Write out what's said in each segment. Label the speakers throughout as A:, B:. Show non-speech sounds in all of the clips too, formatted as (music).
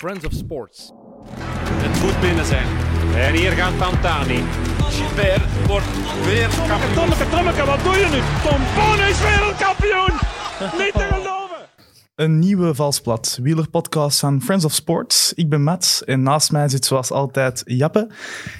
A: Friends of Sports.
B: Het moet binnen zijn. En hier gaat Pantani.
C: Gilbert wordt weer kampioen.
B: Tommeke, Tommeke, wat doe je nu? Tom Boon is wereldkampioen! Niet te geloven!
D: Een nieuwe Valsplat, wielerpodcast van Friends of Sports. Ik ben Mats en naast mij zit zoals altijd Jappe.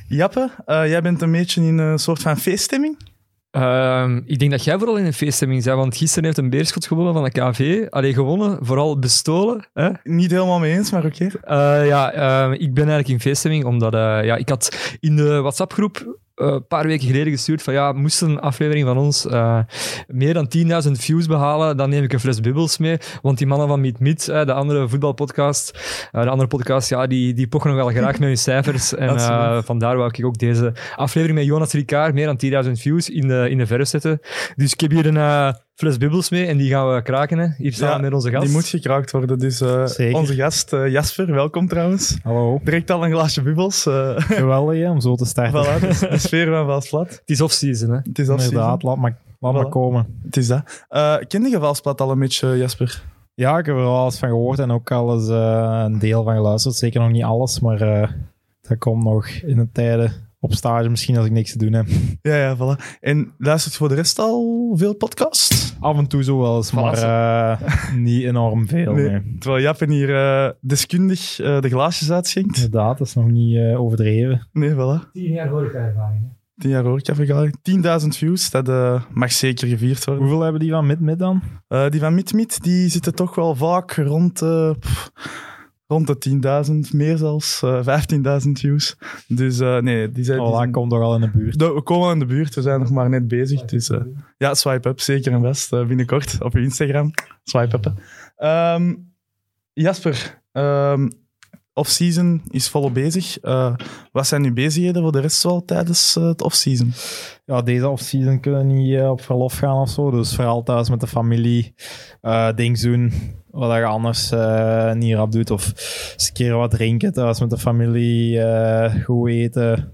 D: Jappe, eh, jij bent een beetje in een soort van feeststemming.
E: Ehm, ik denk dat jij vooral in een feeststemming bent, want gisteren heeft een beerschot gewonnen van de KV. Allee, gewonnen, vooral bestolen. Hè?
D: Niet helemaal mee eens, maar oké.
E: Eh, ja, ehm, ik ben eigenlijk in feeststemming, omdat eh, ja, ik had in de WhatsApp-groep eh, een paar weken geleden gestuurd van ja, moest een aflevering van ons eh, meer dan 10.000 views behalen, dan neem ik een fles bubbels mee. Want die mannen van Meet Meet, eh, de andere voetbalpodcast, eh, de andere podcast, ja, die, die pochen nog wel graag met hun
D: (laughs)
E: cijfers. En eh,
D: Absoluut.
E: vandaar wou ik ook deze aflevering met Jonas Ricard, meer dan 10.000 views, in de, in de verf zetten. Dus ik heb hier een eh, fles bubbels mee en die gaan we kraken. Hè. Hier staan
D: Ja,
E: we met onze gast.
D: Die moet gekraakt worden, dus eh,
F: Zeker.
D: onze gast eh, Jasper, welkom trouwens.
F: (laughs) Hallo.
D: Direct al een glaasje bubbels. eh
F: (laughs) Geweldig hè, om zo te starten.
D: voilà, dus de sfeer van Valsplat.
E: Het is off-season, hè.
D: Het is afzien.
F: Inderdaad, laat maar, laat
D: Voilà.
F: maar komen.
D: Het is dat. Eh ken je Valsplat al een beetje, Jasper?
F: Ja, ik heb er al eens van gehoord en ook al eens eh, een deel van geluisterd. Zeker nog niet alles, maar eh, dat komt nog in de tijden op stage misschien als ik niks te doen heb.
D: Ja, ja, voilà. En luistert voor de rest al veel podcasts?
F: Af en toe zo wel eens, maar (laughs) eh, niet enorm veel.
D: Nee.
F: Nee.
D: Terwijl Jappen hier eh, deskundig eh, de glaasjes uitschenkt.
F: Inderdaad, dat is nog niet eh, overdreven.
D: Nee, voilà.
E: 10 jaar horeca-ervaring,
D: Tien jaar hoor, ik heb ik 10.000 views, dat eh, mag zeker gevierd worden.
F: Hoeveel hebben die van mid-mid dan?
D: Eh, die van MidMid, die zitten toch wel vaak rond, eh, pff, rond de 10.000, meer zelfs, eh, 15.000 views. Dus eh, nee, die zijn... die
F: Oh,
D: zijn-
F: dat komt toch al in de buurt.
D: De- we komen aan de buurt, we zijn nog maar net bezig. dus, eh, ja, swipe up, zeker en best. eh, binnenkort op je Instagram. Swipe up. hè. Ehm, Jasper, ehm off-season is volop bezig. Eh, wat zijn uw bezigheden voor de rest wel tijdens eh, het off-season?
F: ja, deze offseason kunnen we niet eh, op verlof gaan of zo. Dus vooral thuis met de familie eh dingen doen wat je anders eh, niet rap doet. Of eens een keer wat drinken thuis met de familie, eh, goed eten.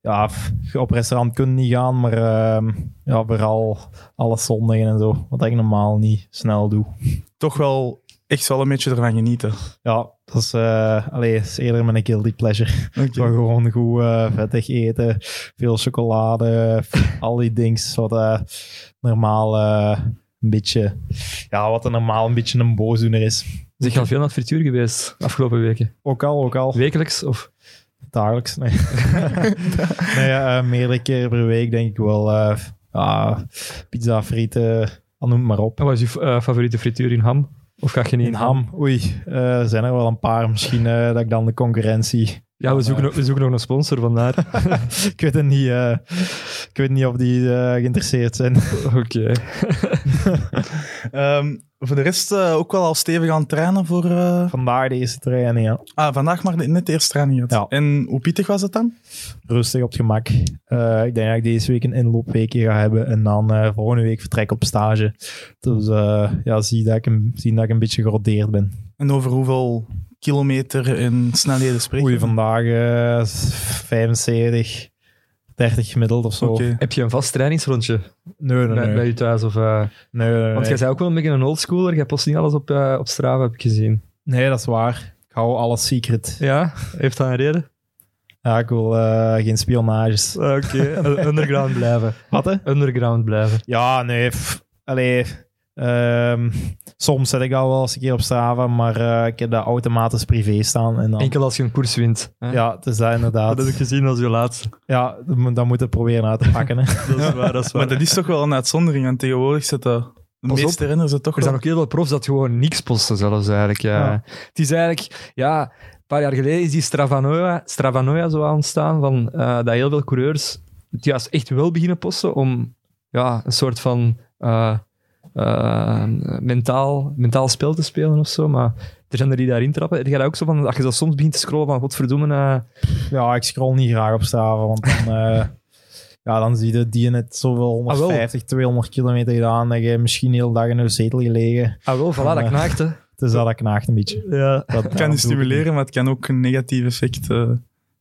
F: Ja, f- op restaurant kunnen niet gaan, maar ehm, ja, vooral alle zondagen en zo. Wat ik normaal niet snel doe.
D: Toch wel echt wel een beetje ervan genieten.
F: Ja, dat is, eh allee, dat is eerder mijn guilty pleasure. Zo
D: Oké.
F: gewoon goed eh, vettig eten, veel chocolade, (laughs) al die dings wat eh, normaal eh, een beetje, ja, wat een normaal een beetje een boosdoener is.
E: Zeg je al veel naar het frituur geweest de afgelopen weken?
F: Ook al, ook al,
E: Wekelijks? Of...
F: dagelijks. (laughs) Nee, nee eh, meerdere keren per week denk ik wel. eh, ja, pizza, frieten, al noem het maar op.
E: En wat is je eh, favoriete frituur in ham? Of ga je niet
F: In ham, oei, eh, zijn er wel een paar misschien eh, dat ik dan de concurrentie (laughs)
E: Ah, Ja, we zoeken, nog- we zoeken nog een sponsor vandaar. (laughs)
F: ik weet het niet. eh, ik weet niet of die eh, geïnteresseerd zijn. (laughs)
E: Oké.
D: Ehm, voor de rest eh, ook wel al stevig aan het trainen voor... eh,
F: Vandaag de eerste training, ja.
D: Ah, vandaag maar net de eerste training uit.
F: Ja.
D: En hoe pittig was het dan?
F: rustig op het gemak. Eh, ik denk dat ik deze week een inloopweekje ga hebben en dan eh, volgende week vertrek op stage. Dus eh, ja, zie dat ik een, zie dat ik een beetje gerodeerd ben.
D: En over hoeveel kilometer en snelheden spreken?
F: Oei, vandaag eh, 75, 30 gemiddeld of zo.
D: Oké.
E: Heb je een vast trainingsrondje
F: Nee, nee,
E: bij, bij
F: nee.
E: je thuis? Of, eh,
F: Nee, nee,
E: Want
F: nee.
E: jij bent ook wel een beetje een oldschooler. Jij post niet alles op, eh, op Strava, heb ik gezien.
F: Nee, dat is waar. Ik hou alles secret.
E: Ja? Heeft dat een reden?
F: Ja, ik wil eh, geen spionages.
E: Ah, Oké. (laughs) Underground blijven.
F: Wat hè?
E: Underground blijven.
F: Ja, nee. pff, Allee. ehm, soms zet ik al wel eens een keer op Strava, maar eh, ik heb dat automatisch privé staan. En dan,
E: Enkel als je een koers wint. hè?
F: Ja, het is dat inderdaad.
E: Dat heb ik gezien als je laatste.
F: Ja, dat moet- dat moeten we proberen uit te pakken.
E: (laughs)
F: Hè.
E: Dat is waar, dat is waar.
D: (laughs) Maar (laughs) dat is toch wel een uitzondering. En tegenwoordig zitten de
E: Pas
D: meeste renners het toch
E: Er
D: wel...
E: zijn ook heel veel profs dat gewoon niks posten zelfs eigenlijk. Ja.
D: Ja.
E: Het is eigenlijk, ja, een paar jaar geleden is die Stravanoia, Stravanoia zo aan ontstaan, van, eh, dat heel veel coureurs het juist echt wel beginnen posten om ja, een soort van eh, eh, mentaal, mentaal spel te spelen of zo. Maar er zijn er die daarin trappen. Heb jij dat ook zo van, als je dat soms begint te scrollen van, godverdomme, eh
F: Ja, ik scroll niet graag op Strava, want dan, eh, ja, dan zie je die net zoveel
E: Ah, wel.
F: 150, 200 kilometer gedaan dat je misschien heel dag in een zetel gelegen.
E: ah wel, voilà, dat
F: Ja. (laughs)
E: knaagt, hè.
F: Dus dat dat knaagt een beetje.
E: Ja.
F: Dat,
D: Het kan je stimuleren, maar het kan ook een negatief effect eh,
F: Wat,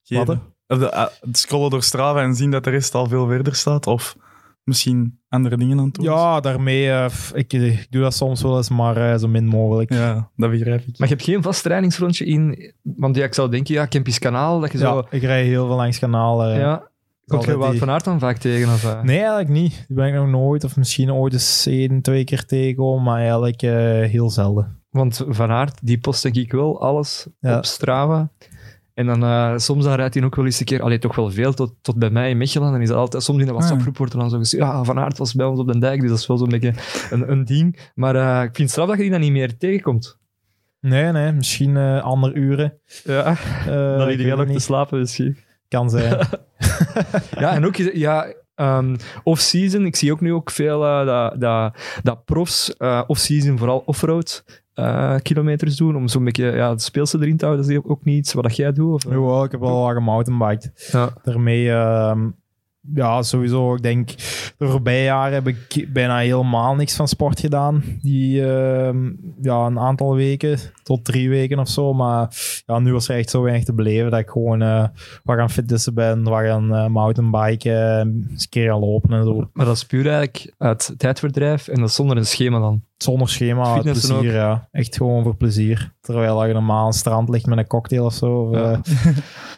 F: hè?
D: geven. Of de- ah, het scrollen door Strava en zien dat de rest al veel verder staat. Of misschien andere dingen aan het doen is.
F: Ja, daarmee. eh, f- ik, ik doe dat soms wel eens, maar eh, zo min mogelijk.
D: Ja, dat begrijp ik.
E: Maar je hebt geen vast trainingsfrontje in... Want ja, ik zou denken, ja, Kempisch Kanaal, dat je
F: Ja,
E: zo...
F: ik rij heel veel langs kanalen.
E: Ja. Komt je
F: Altijd
E: Wout
F: die-
E: van Aert dan vaak tegen? Of, eh?
F: Nee, eigenlijk niet. Die ben ik nog nooit, of misschien ooit eens één, twee keer tegengekomen, maar eigenlijk eh, heel zelden.
E: Want Van Aert, die post denk ik wel alles
F: Ja.
E: op Strava. En dan, eh, soms dan rijdt hij ook wel eens een keer, allee, toch wel veel, tot, tot bij mij in Mechelen. En is dat altijd, soms in de
F: Ah,
E: WhatsApp-groep wordt er dan zo gezegd, ja, Van Aert was bij ons op den dijk, dus dat is wel zo'n beetje een, een ding. Maar eh, ik vind het straf dat je die dan niet meer tegenkomt.
F: Nee, nee, misschien eh, andere uren.
E: Ja,
F: Eh,
E: dan
F: ik
E: ligt
F: weet
E: hij
F: het
E: nog te
F: niet.
E: slapen misschien.
F: Kan zijn.
E: Ja, en ook, ja, ehm, off-season, ik zie ook nu ook veel eh, dat, dat, dat profs eh, off-season vooral off-road eh, kilometers doen, om zo'n beetje ja, het speelse erin te houden. Dat is ook niet iets wat dat jij doet. Of,
F: Jawel, ik heb wel wat gemountainbiked.
E: Ja.
F: Daarmee, ehm, ja, sowieso. Ik denk, de voorbije jaren heb ik bijna helemaal niks van sport gedaan. Die, ehm, ja, een aantal weken, tot drie weken of zo. Maar ja, nu was er echt zo weinig te beleven dat ik gewoon eh wat gaan fitnessen ben, wat gaan eh, mountainbiken, eens een keer gaan lopen en zo.
E: Maar dat is puur eigenlijk uit tijdverdrijf en dat is zonder een schema dan.
F: Zonder schema, uit
E: Fitnessen
F: plezier, ja. Echt gewoon voor plezier. Terwijl je normaal aan het strand ligt met een cocktail of zo. Of,
E: Ja.
F: ja.
E: (laughs)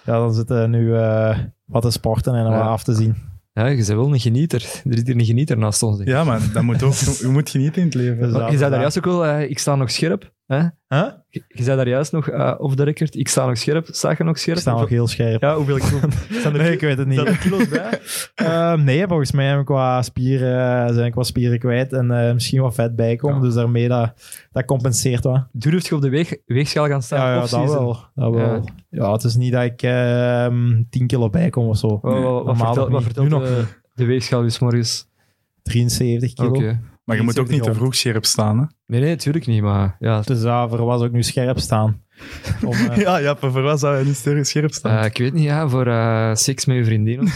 F: ja, dan zitten nu eh, wat te sporten en wat
E: Ja.
F: af te zien.
E: Ja, je bent wel een genieter. Er zit hier een genieter naast ons. denk ik.
D: Ja, maar dat moet ook. (laughs) Je moet genieten in het leven.
F: Dus
E: Maar
F: dat-
E: je zei daar
F: dat-
E: juist ook wel, eh, ik sta nog scherp. Hè?
F: Huh?
E: Je je zei daar juist nog, eh off the record, ik sta nog scherp. Sta je nog scherp?
F: Ik sta nog heel scherp.
E: Ja, hoeveel kilo?
F: (laughs)
E: Zijn er
F: Nee, ik weet het
E: zijn
F: niet.
E: er kilo's bij?
F: (laughs) Ehm, nee, volgens mij heb ik qua spieren, eh, zijn ik wat spieren kwijt en eh, misschien wat vet bijkomen.
E: Ja.
F: Dus daarmee dat, dat compenseert wat.
E: Durf je op de weeg, weegschaal gaan staan?
F: Ja, ja dat
E: off-season?
F: wel. Dat wel.
E: Ja.
F: Ja. het is niet dat ik ehm 10 kilo bijkom of zo.
E: Wat, wat, wat
F: Normaal
E: vertelt,
F: nog
E: wat
F: niet.
E: vertelt
F: Nu
E: de, de weegschaal dus morgens?
F: 73 kilo.
E: Oké.
D: Maar je moet ook niet te vroeg scherp staan. Hè?
E: Nee, nee, natuurlijk niet, maar ja.
F: Dus daarvoor was ook nu scherp
D: (laughs)
F: staan. Om, eh,
D: Ja, ja, maar voor wat zou je niet sterk scherp staan?
E: eh, ik weet niet, ja, voor eh, seks met je vriendin
F: (laughs)
E: of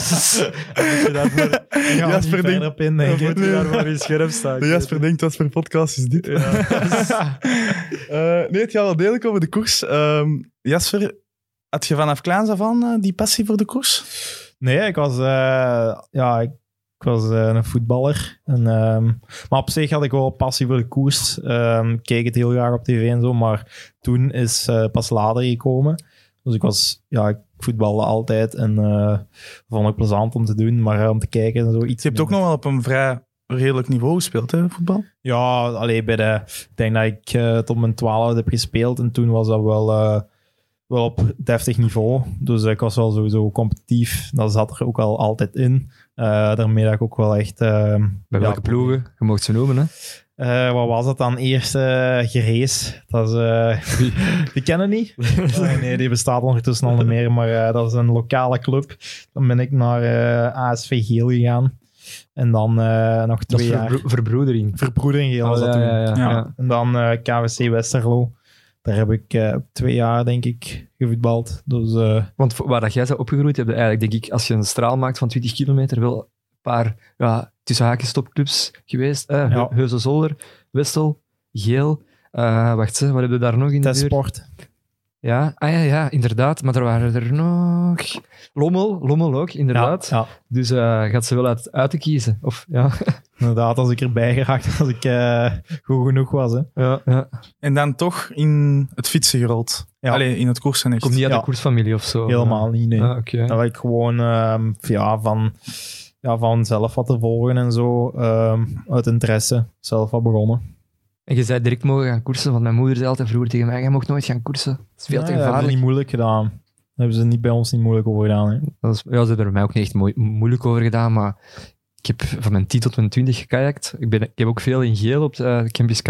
E: zo.
F: je
D: (laughs)
F: daarvoor, ik ga er niet
D: Jasper denkt-
F: verder op in, denk ik.
E: (laughs)
D: Nee.
E: in scherp staan.
D: De Jasper denkt, wat voor podcast is dit? (laughs) Eh, nee, het gaat wel degelijk over de koers. Ehm, Jasper, had je vanaf kleins af aan eh, die passie voor de koers?
F: Nee, ik was, eh, ja, ik, ik was eh, een voetballer. En, ehm, maar op zich had ik wel passie voor de koers. Ehm, ik keek het heel graag op tv en zo. Maar toen is eh, pas later gekomen. Dus ik was, ja, ik voetbalde altijd. En eh, vond het plezant om te doen, maar eh, om te kijken en zo. Iets
D: Je hebt ook nog wel op een vrij redelijk niveau gespeeld, hè, voetbal?
F: Ja, alleen bij de. Ik denk dat ik eh, tot mijn twaalfde heb gespeeld. En toen was dat wel, eh, wel op deftig niveau. Dus ik was wel sowieso competitief. Dat zat er ook wel altijd in. Eh, daarmee dat ik ook wel echt. eh, ja,
E: Bij welke ploegen? Je mocht ze noemen, hè?
F: eh, wat was dat dan? Eerst eh Gerees. Dat is, eh, (laughs) die kennen niet. Eh, (laughs) nee, die bestaat ondertussen al niet meer. Maar eh, dat is een lokale club. Dan ben ik naar eh, ASV Geel gegaan. En dan eh, nog
E: Dat
F: twee
E: is
F: jaar.
E: verbro- verbroedering.
F: Verbroedering Geel was dat
E: ja,
F: toen.
E: ja, ja,
D: Ja.
E: ja.
F: En dan eh, KWC Westerlo. Daar heb ik eh, ook twee jaar, denk ik, gevoetbald. Dus eh,
E: Want voor- waar dat jij zou opgegroeid hebben, eigenlijk denk ik, als je een straal maakt van 20 kilometer, wel een paar ja, tussen haakjes topclubs geweest. Eh,
F: Ja.
E: Heuze Zolder, Westel, Geel. Eh, wacht, hè, wat hebben we daar nog in de buurt?
F: testsport.
E: Ja, ah, ja, ja, inderdaad. Maar er waren er nog... Lommel, Lommel ook, inderdaad.
F: Ja, ja,
E: Dus eh, gaat ze wel uit, uit te kiezen. Of, ja.
F: inderdaad. Als ik erbij geraakt, (laughs) als ik eh, goed genoeg was. Hè.
E: Ja,
D: En dan toch in het fietsen gerold.
F: Ja.
D: Allee, in het koersen echt.
E: Komt niet uit
F: Ja.
E: de koersfamilie of zo.
F: Helemaal niet, nee.
E: Ah,
F: Dat
E: Oké.
F: Dat ik gewoon ehm, ja, van, ja, vanzelf wat te volgen en zo. ehm, uit interesse zelf wat begonnen.
E: En je zei direct mogen gaan koersen, want mijn moeder zei altijd vroeger tegen mij, jij mag nooit gaan koersen. Dat is veel
F: Ja,
E: te
F: dat hebben ze
E: gevaarlijk.
F: niet moeilijk gedaan. Dat hebben ze niet bij ons niet moeilijk over gedaan. Hè.
E: Dat is, ja, ze hebben er mij ook niet echt moe- moeilijk over gedaan, maar ik heb van mijn 10 tot mijn 20 gekajakt. Ik, ben, ik heb ook veel in geel op eh, het Kempisch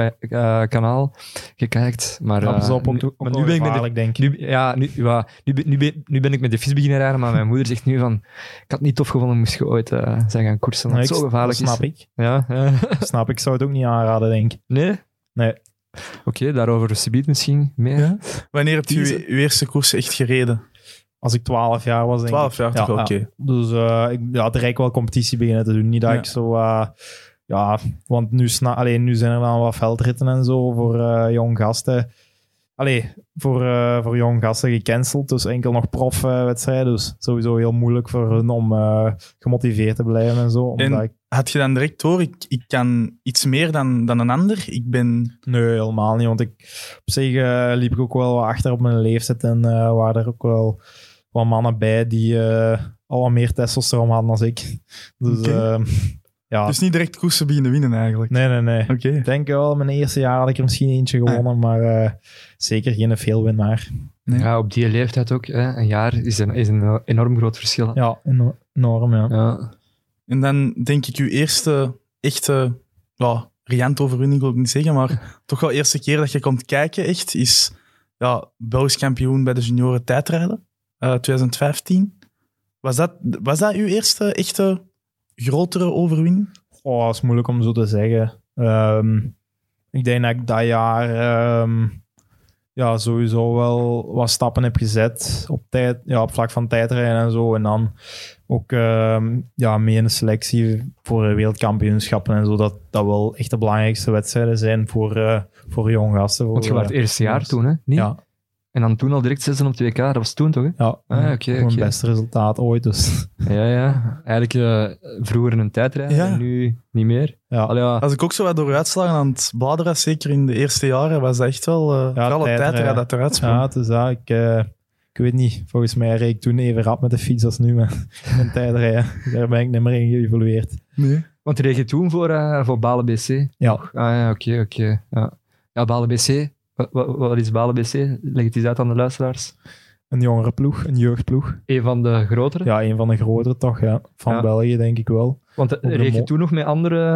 E: kanaal gekajakt. Maar,
F: Dat is
E: eh,
F: dus op, ook,
E: nu-
F: ook
E: maar
F: wel
E: nu ben ik met de
F: gevaarlijk, denk ik.
E: nu, ja, nu, ja nu, ben- nu, ben, nu ben ik met de fiets beginnen rijden, maar mijn moeder zegt nu van... Ik had het niet tof gevonden moest je ooit eh, zijn gaan koersen, want
F: Nee,
E: het
F: ik-
E: zo gevaarlijk
F: dat snap
E: is. (laughs)
F: ik.
E: Ja, ja.
F: snap ik. zou het ook niet aanraden, denk ik.
E: Nee?
F: Nee.
E: Oké, daarover subiet misschien meer.
D: Ja? Wanneer hebt u
E: Kiezen.
D: uw eerste koers echt gereden?
F: Als ik 12 jaar was, denk ik.
D: 12 jaar toch?
F: Ja,
D: Oké.
F: Dus eh ik, ja, direct wel competitie beginnen te doen. Niet dat
D: Ja.
F: ik zo... eh, ja, want nu, sna- alleen nu zijn er dan wat veldritten en zo voor eh jong gasten. Allee, voor, eh, voor jong gasten gecanceld. Dus enkel nog profwedstrijden. dus sowieso heel moeilijk voor hun om eh, gemotiveerd te blijven en zo. Omdat
D: En-
F: ik,
D: Had je dan direct door, ik, ik kan iets meer dan, dan een ander. Ik ben...
F: nee, helemaal niet. Want ik, op zich eh, liep ik ook wel wat achter op mijn leeftijd. En eh, waren er ook wel wat mannen bij die eh, al wat meer testosteron hadden dan ik. (laughs) Dus
D: Oké.
F: eh, ja.
D: Dus niet direct koersen beginnen winnen eigenlijk.
F: nee, nee, nee.
D: Oké. Ah.
F: Ik denk wel, mijn eerste jaar had ik er misschien eentje gewonnen, maar eh, zeker geen veelwinnaar.
E: Ja, op die leeftijd ook. Hè. Een jaar is een, is een enorm groot verschil.
F: Ja, eno- enorm, ja.
E: Ja.
D: En dan denk ik, uw eerste echte, ja, riante overwinning wil ik niet
F: (laughs)
D: zeggen, maar toch wel eerste keer dat je komt kijken echt, is ja, Belgisch kampioen bij de junioren tijdrijden, eh, 2015. Was dat, was dat uw eerste echte grotere overwinning?
F: Oh, dat is moeilijk om zo te zeggen. Ehm, ik denk dat ik dat jaar ehm, ja, sowieso wel wat stappen heb gezet op, tijd, ja, op vlak van tijdrijden en zo. En dan ook ehm, ja, mee in de selectie voor de wereldkampioenschappen en zo. Dat, dat wel echt de belangrijkste wedstrijden zijn voor, eh voor jong gasten. Voor,
E: Want je was het
F: eh,
E: eerste jaar
F: ja.
E: toen, hè? Niet?
F: Ja,
E: En dan toen al direct zesde op 2K. Dat was toen toch, hè?
F: ja
E: Ah, oké,
F: gewoon het
E: oké.
F: beste resultaat ooit. Dus.
E: Ja, ja. Eigenlijk eh, vroeger een tijdrijder
D: Ja.
E: en nu niet meer.
F: Ja.
E: Allee, ja.
D: Als ik ook zo wat door uw uitslagen aan het bladeren, was, zeker in de eerste jaren, was dat echt wel eh vooral het
F: tijdrijden.
D: tijdrijden dat eruit sprong.
F: Ja, het is dat. Ik, eh, ik weet niet. Volgens mij reed ik toen even rap met de fiets als nu. Maar (laughs) in tijdrijden, daar ben ik niet meer in geëvolueerd.
D: Nee.
E: Want reed je toen voor, eh, voor Balen BC?
F: Ja.
E: Ah ja, oké, oké. Ja. ja, Balen BC. Wat, wat, wat is Balen BC? Leg het eens uit aan de luisteraars.
F: Een jongere ploeg, een jeugdploeg.
E: Een van de grotere.
F: Ja, een van de grotere toch, ja. Van
E: Ja.
F: België denk ik wel.
E: Want eh,
F: Op de
E: reed je
F: mo-
E: toen nog met anderen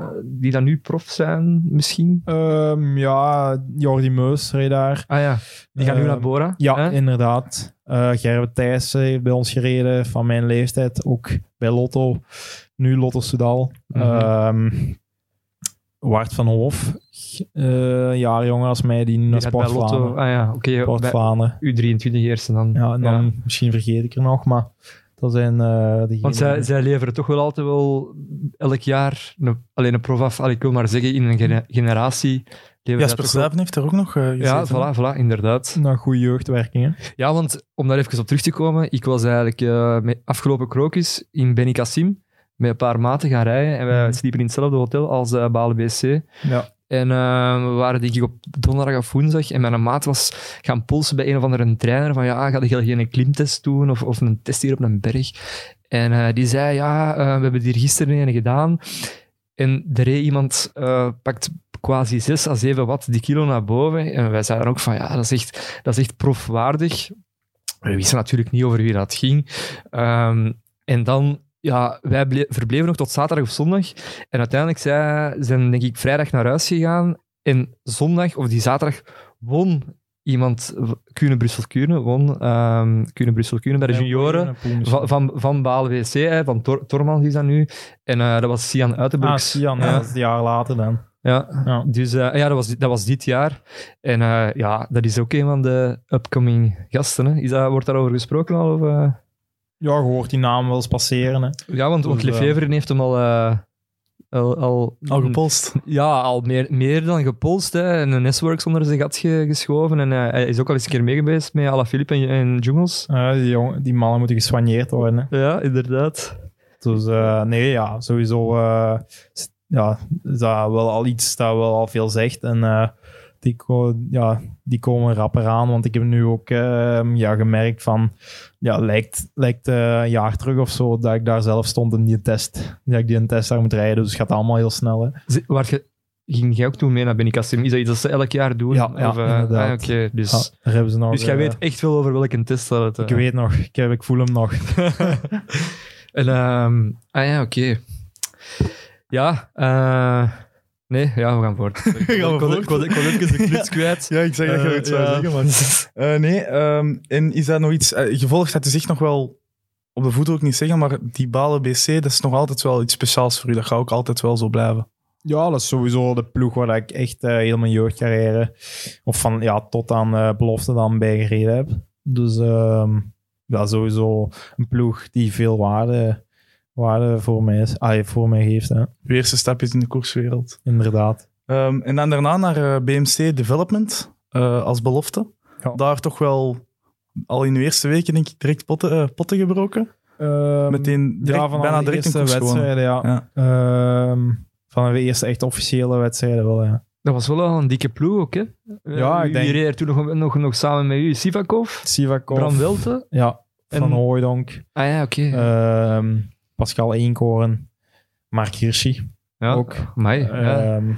E: eh, die dan nu prof zijn, misschien?
F: Ehm, ja, Jordi Meus reed daar.
E: Ah ja, die gaan nu
F: Ehm,
E: naar Bora.
F: Ja,
E: hè?
F: inderdaad. Eh Gerben Thijssen heeft bij ons gereden, van mijn leeftijd. Ook bij Lotto. Nu Lotto Soudal.
E: Mhm.
F: Ehm, Wart van Hof. eh, een jaar jonger als mij, die nu
E: Die
F: naar
E: gaat bij
F: Sport
E: Lotto.
F: Vlaanderen.
E: Ah ja, oké.
F: Sport
E: bij
F: Vlaanderen.
E: U23 eerste dan.
F: Ja, en dan misschien vergeet ik er nog, maar dat zijn eh diegenen-
E: Want zij, zij leveren toch wel altijd wel elk jaar een, alleen een prof af. Allee, ik wil maar zeggen, in een gene- generatie leveren zij
D: Jasper
E: toch wel-
D: Stuyven heeft er ook nog eh
E: Ja,
D: gezeten.
E: voilà, voilà, inderdaad.
F: Nou, goede jeugdwerkingen.
E: Ja, want om daar even op terug te komen, ik was eigenlijk eh, met afgelopen krokus in Benicassim met een paar maten gaan rijden. En wij
F: Mhm.
E: sliepen in hetzelfde hotel als eh Balen BC.
F: Ja.
E: En eh, we waren denk ik op donderdag of woensdag en mijn maat was gaan polsen bij een of andere trainer van ja, ga je geen klimtest doen of, of een test hier op een berg? En eh, die zei ja, eh, we hebben hier gisteren een gedaan. En er reed iemand, eh, pakt quasi 6 à 7 watt die kilo naar boven. En wij zeiden ook van ja, dat is echt, dat is echt profwaardig. We wisten natuurlijk niet over wie dat ging. Ehm, en dan, ja, wij ble- verbleven nog tot zaterdag of zondag. En uiteindelijk zij- zijn, denk ik, vrijdag naar huis gegaan. En zondag, of die zaterdag, won iemand, Kuurne-Brussel-Kuurne, won ehm Kuurne-Brussel-Kuurne bij de junioren. Van, van, van Baal WC, hè, van Tor Tormans is dat nu. En eh, dat was Sian
F: Ah,
E: Uitenbroeks.
F: Sian, ja,
E: Ja.
F: dat is een jaar later dan.
E: Ja,
F: Ja.
E: dus eh, ja, dat, was, dat was dit jaar. En eh, ja, dat is ook een van de upcoming gasten. Hè. Is dat, wordt daarover gesproken al? Of, eh?
F: Ja, je hoort die naam wel eens passeren. Hè.
E: Ja, want, want
F: Dus, eh,
E: Lefevre heeft hem al... eh, al, al,
D: Al gepolst.
E: Ja, al meer, meer dan gepolst. Hè. En een S-Works onder zijn gat ge- geschoven. En eh, hij is ook al eens een keer meegeweest met Alaphilippe en, en Jungels.
F: Eh, die, jong- die mannen moeten geswanjeerd worden. Hè.
E: Ja, inderdaad.
F: Dus eh, nee, ja, sowieso eh, s- ja, is dat wel al iets dat wel al veel zegt. En eh, die, ko- ja, die komen rapper aan, want ik heb nu ook eh, ja, gemerkt van, ja, lijkt, lijkt eh, een jaar terug of zo dat ik daar zelf stond in die test. Dat ik die een test daar moet rijden, dus het gaat allemaal heel snel. Hè.
E: Z- Waar je, ging jij ook toen mee naar Benicassim? Is dat iets dat ze elk jaar doen?
F: Ja, ja,
E: Of, eh,
F: inderdaad.
E: ah, Oké, dus...
F: Ja, daar hebben ze nog,
E: Dus jij
F: eh,
E: weet echt wel over welke test dat het...
F: Ik
E: eh,
F: weet nog, ik, heb, ik voel hem nog.
E: (laughs) En, ehm, ah ja, oké. Ja, eh, nee, ja, we
D: (laughs)
E: gaan voort. Sorry. Ik
D: gaan
E: kon-
D: voort.
E: ik kon- ik kon even de (laughs) kluts kwijt.
D: (laughs) Ja, ik zeg dat je
E: Eh,
D: het zou
E: ja.
D: zeggen,
E: (laughs)
D: maar... Eh, nee, ehm, en is dat nog iets... eh, gevolgd dat u zich nog wel... Op de voet ook niet zeggen, maar die balen BC, dat is nog altijd wel iets speciaals voor u. Dat gaat ook altijd wel zo blijven.
F: Ja, dat is sowieso de ploeg waar ik echt eh, heel mijn jeugdcarrière, of van ja, tot aan eh, belofte dan bij gereden heb. Dus ehm ja, sowieso een ploeg die veel waarde, waarde voor, mij is, ah, voor mij geeft, hè.
D: Uw eerste stapjes in de koerswereld.
F: inderdaad.
D: Ehm, en dan daarna naar eh, BMC Development. Eh, eh, als belofte.
F: Ja.
D: Daar toch wel al in de eerste weken, denk ik, direct potten, eh, potten gebroken.
F: Ehm,
D: Meteen direct,
F: ja, van
D: bijna
F: alle
D: direct een
F: eerste
D: koers gewonnen.
F: wedstrijden, ja.
D: Ja.
F: Ehm, van de eerste echt officiële wedstrijden wel, ja.
E: Dat was wel al een dikke ploeg ook, hè? Eh,
F: Ja, ik denk-
E: Wie reed er toen nog, nog, nog samen met u? Sivakov,
F: Sivakov.
E: Bram Welte.
F: Ja, Van
E: En-
F: Hooijdonk.
E: Ah ja, oké.
F: Ehm, Pascal Eenkoren. Mark Hirschi.
E: ja,
F: ook.
E: Amai, ja.
F: Ehm,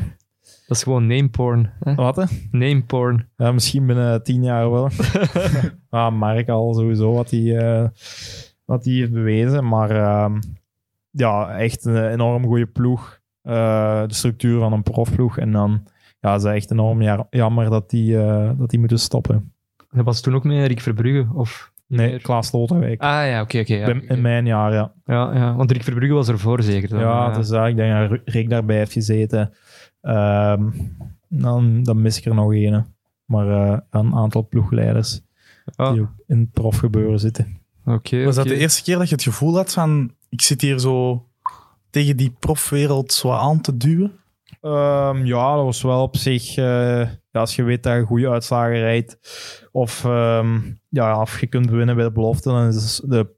E: Dat is gewoon nameporn. hè.
F: Wat, hè?
E: Nameporn.
F: Ja, misschien binnen tien jaar
E: (laughs)
F: wel. ah, Mark al sowieso wat hij, eh, wat hij heeft bewezen. Maar ehm, ja, echt een enorm goede ploeg. Eh, de structuur van een profploeg. En dan ja, het is echt enorm ja- jammer dat die, eh, dat die moeten stoppen.
E: Dat was toen ook met Rick Verbrugge, of? niet
F: Nee,
E: meer?
F: Klaas Lotterwijk.
E: Ah ja, oké, oké. ja,
F: Bij-
E: oké.
F: in mijn jaar, ja.
E: ja, ja, want Rick Verbrugge was ervoor zeker. dan,
F: ja,
E: eh.
F: dus ja, ik denk dat Rick daarbij heeft gezeten. Ehm, dan, dan mis ik er nog een. hè. Maar eh, een aantal ploegleiders
E: Ah,
F: die ook in het profgebeuren zitten.
E: Oké,
D: Was dat
E: oké.
D: de e- eerste keer dat je het gevoel had van... Ik zit hier zo tegen die profwereld zo aan te duwen?
F: Ehm, ja, dat was wel op zich. eh, ja, als je weet dat je goede uitslagen rijdt. Of, ehm, ja, of je kunt winnen bij de belofte. Dan is de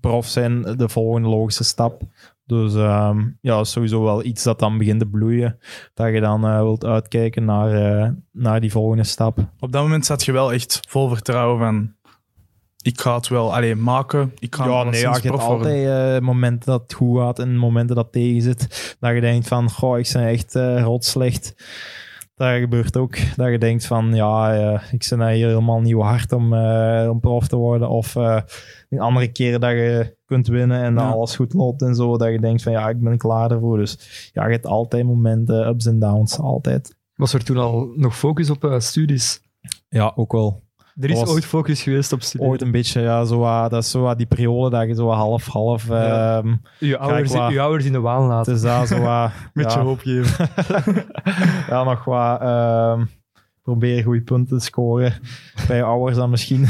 F: prof zijn de volgende logische stap. Dus ehm, ja, dat is sowieso wel iets dat dan begint te bloeien. Dat je dan eh, wilt uitkijken naar, eh, naar die volgende stap.
D: Op dat moment zat je wel echt vol vertrouwen van... Ik ga het wel alleen maken. Ik ga
F: Ja, nee,
D: alleszins
F: ja, je hebt
D: prof worden.
F: altijd eh, momenten dat het goed gaat en momenten dat het tegen zit. Dat je denkt van, goh, ik ben echt eh rot slecht. Dat gebeurt ook. Dat je denkt van, ja, eh, ik ben daar hier helemaal niet hard om, eh, om prof te worden. Of eh, een andere keer dat je kunt winnen en dat
D: Ja.
F: alles goed loopt en zo. Dat je denkt van, ja, ik ben klaar ervoor. Dus ja, je hebt altijd momenten, ups en downs, altijd.
E: Was er toen al nog focus op eh, studies?
F: Ja, ook wel.
E: Er is
F: Was-
E: ooit focus geweest op studies.
F: Ooit een beetje, ja, zo, wat- dat is zo wat die periode dat je zo wat half-half...
E: Ja.
F: ehm,
E: Uw ouders,
F: waar.
E: uw ouders in de waan laten.
F: het is daar zo (laughs) wat...
D: Met
F: ja.
D: je hoop geven.
F: ja, nog wat. ehm probeer goede punten te scoren. Bij je ouders dan misschien. (laughs)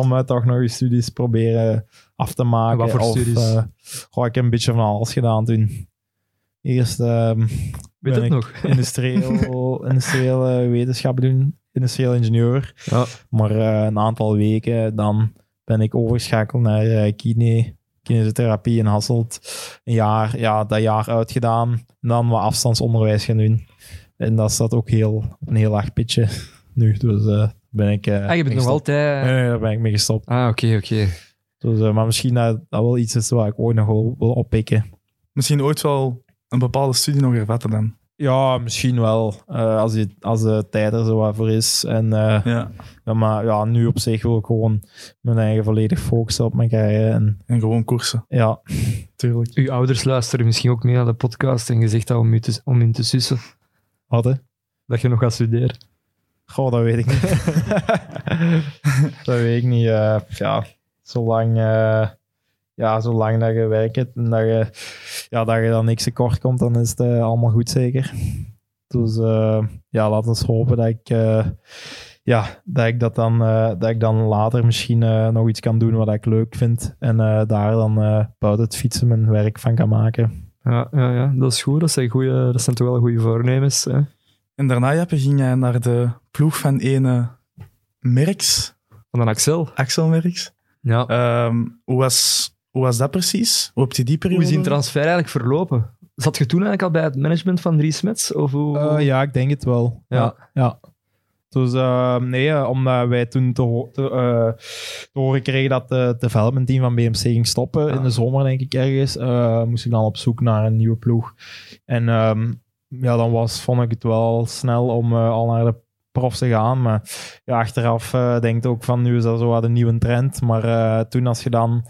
F: Om eh, toch nog je studies proberen af te maken.
E: En wat voor
F: of,
E: studies?
F: eh, goh, ik heb een beetje van alles gedaan toen. Eerst ehm
E: Weet
F: ben
E: het
F: ik
E: nog? (laughs)
F: industrieel, industriële wetenschappen doen. Industrieel ingenieur.
E: Ja.
F: Maar eh, een aantal weken dan ben ik overgeschakeld naar eh, kine, kinesiotherapie in Hasselt. Een jaar, ja, dat jaar uitgedaan. En dan wat afstandsonderwijs gaan doen. En dat staat ook heel, op een heel laag pitje nu. Dus eh, ben ik... eh,
E: Ah, je bent
F: mee
E: nog
F: gestopt.
E: altijd...
F: Nee, nee, daar ben ik mee gestopt.
E: Ah, oké, oké.
F: Dus, eh, maar misschien dat dat wel iets is waar ik ooit nog wil, wil oppikken.
D: Misschien ooit wel een bepaalde studie nog hervatten dan.
F: Ja, misschien wel. eh, als, je, als de tijd er zo wat voor is. En, eh,
D: Ja.
F: ja, maar ja, nu op zich wil ik gewoon mijn eigen volledig focussen op mijn carrière. En,
D: En gewoon koersen,
F: ja,
D: tuurlijk.
E: Uw ouders luisteren misschien ook mee naar de podcast en gezegd dat om, u te, om in te sussen.
F: wat hè?
E: Dat je nog gaat studeren.
F: Goh, dat weet ik niet. (laughs) dat weet ik niet. eh, ja, zolang, eh, ja, zolang dat je werkt en dat je, ja, dat je dan niks tekort komt, dan is het eh, allemaal goed zeker. Dus eh, ja, laten we hopen dat ik, eh, ja, dat, ik dat, dan, eh, dat ik dan later misschien eh, nog iets kan doen wat ik leuk vind. En eh, daar dan eh, buiten het fietsen mijn werk van kan maken.
E: Ja, ja, ja, dat is goed. Dat zijn, goeie, dat zijn toch wel goede voornemens. Hè?
D: En daarna, Jappe, ging jij naar de ploeg van ene Merks,
E: Van een Axel.
D: Axel Merks.
E: Ja.
D: Ehm, hoe, was, hoe was dat precies? Hoe heb je die
E: hoe
D: periode?
E: is die transfer eigenlijk verlopen? Zat je toen eigenlijk al bij het management van Dries Smets? Of hoe...
F: Eh, ja, ik denk het wel.
E: Ja.
F: ja. Dus eh, nee, eh, omdat wij toen te, ho- te, eh, te horen kregen dat eh, de- het development team van BMC ging stoppen in de zomer, denk ik ergens, eh, moest ik dan op zoek naar een nieuwe ploeg. En ehm, ja, dan was, vond ik het wel snel om eh, al naar de prof te gaan. Maar ja, achteraf eh denk ik ook van nu is dat zo wat een nieuwe trend. Maar eh, toen als je dan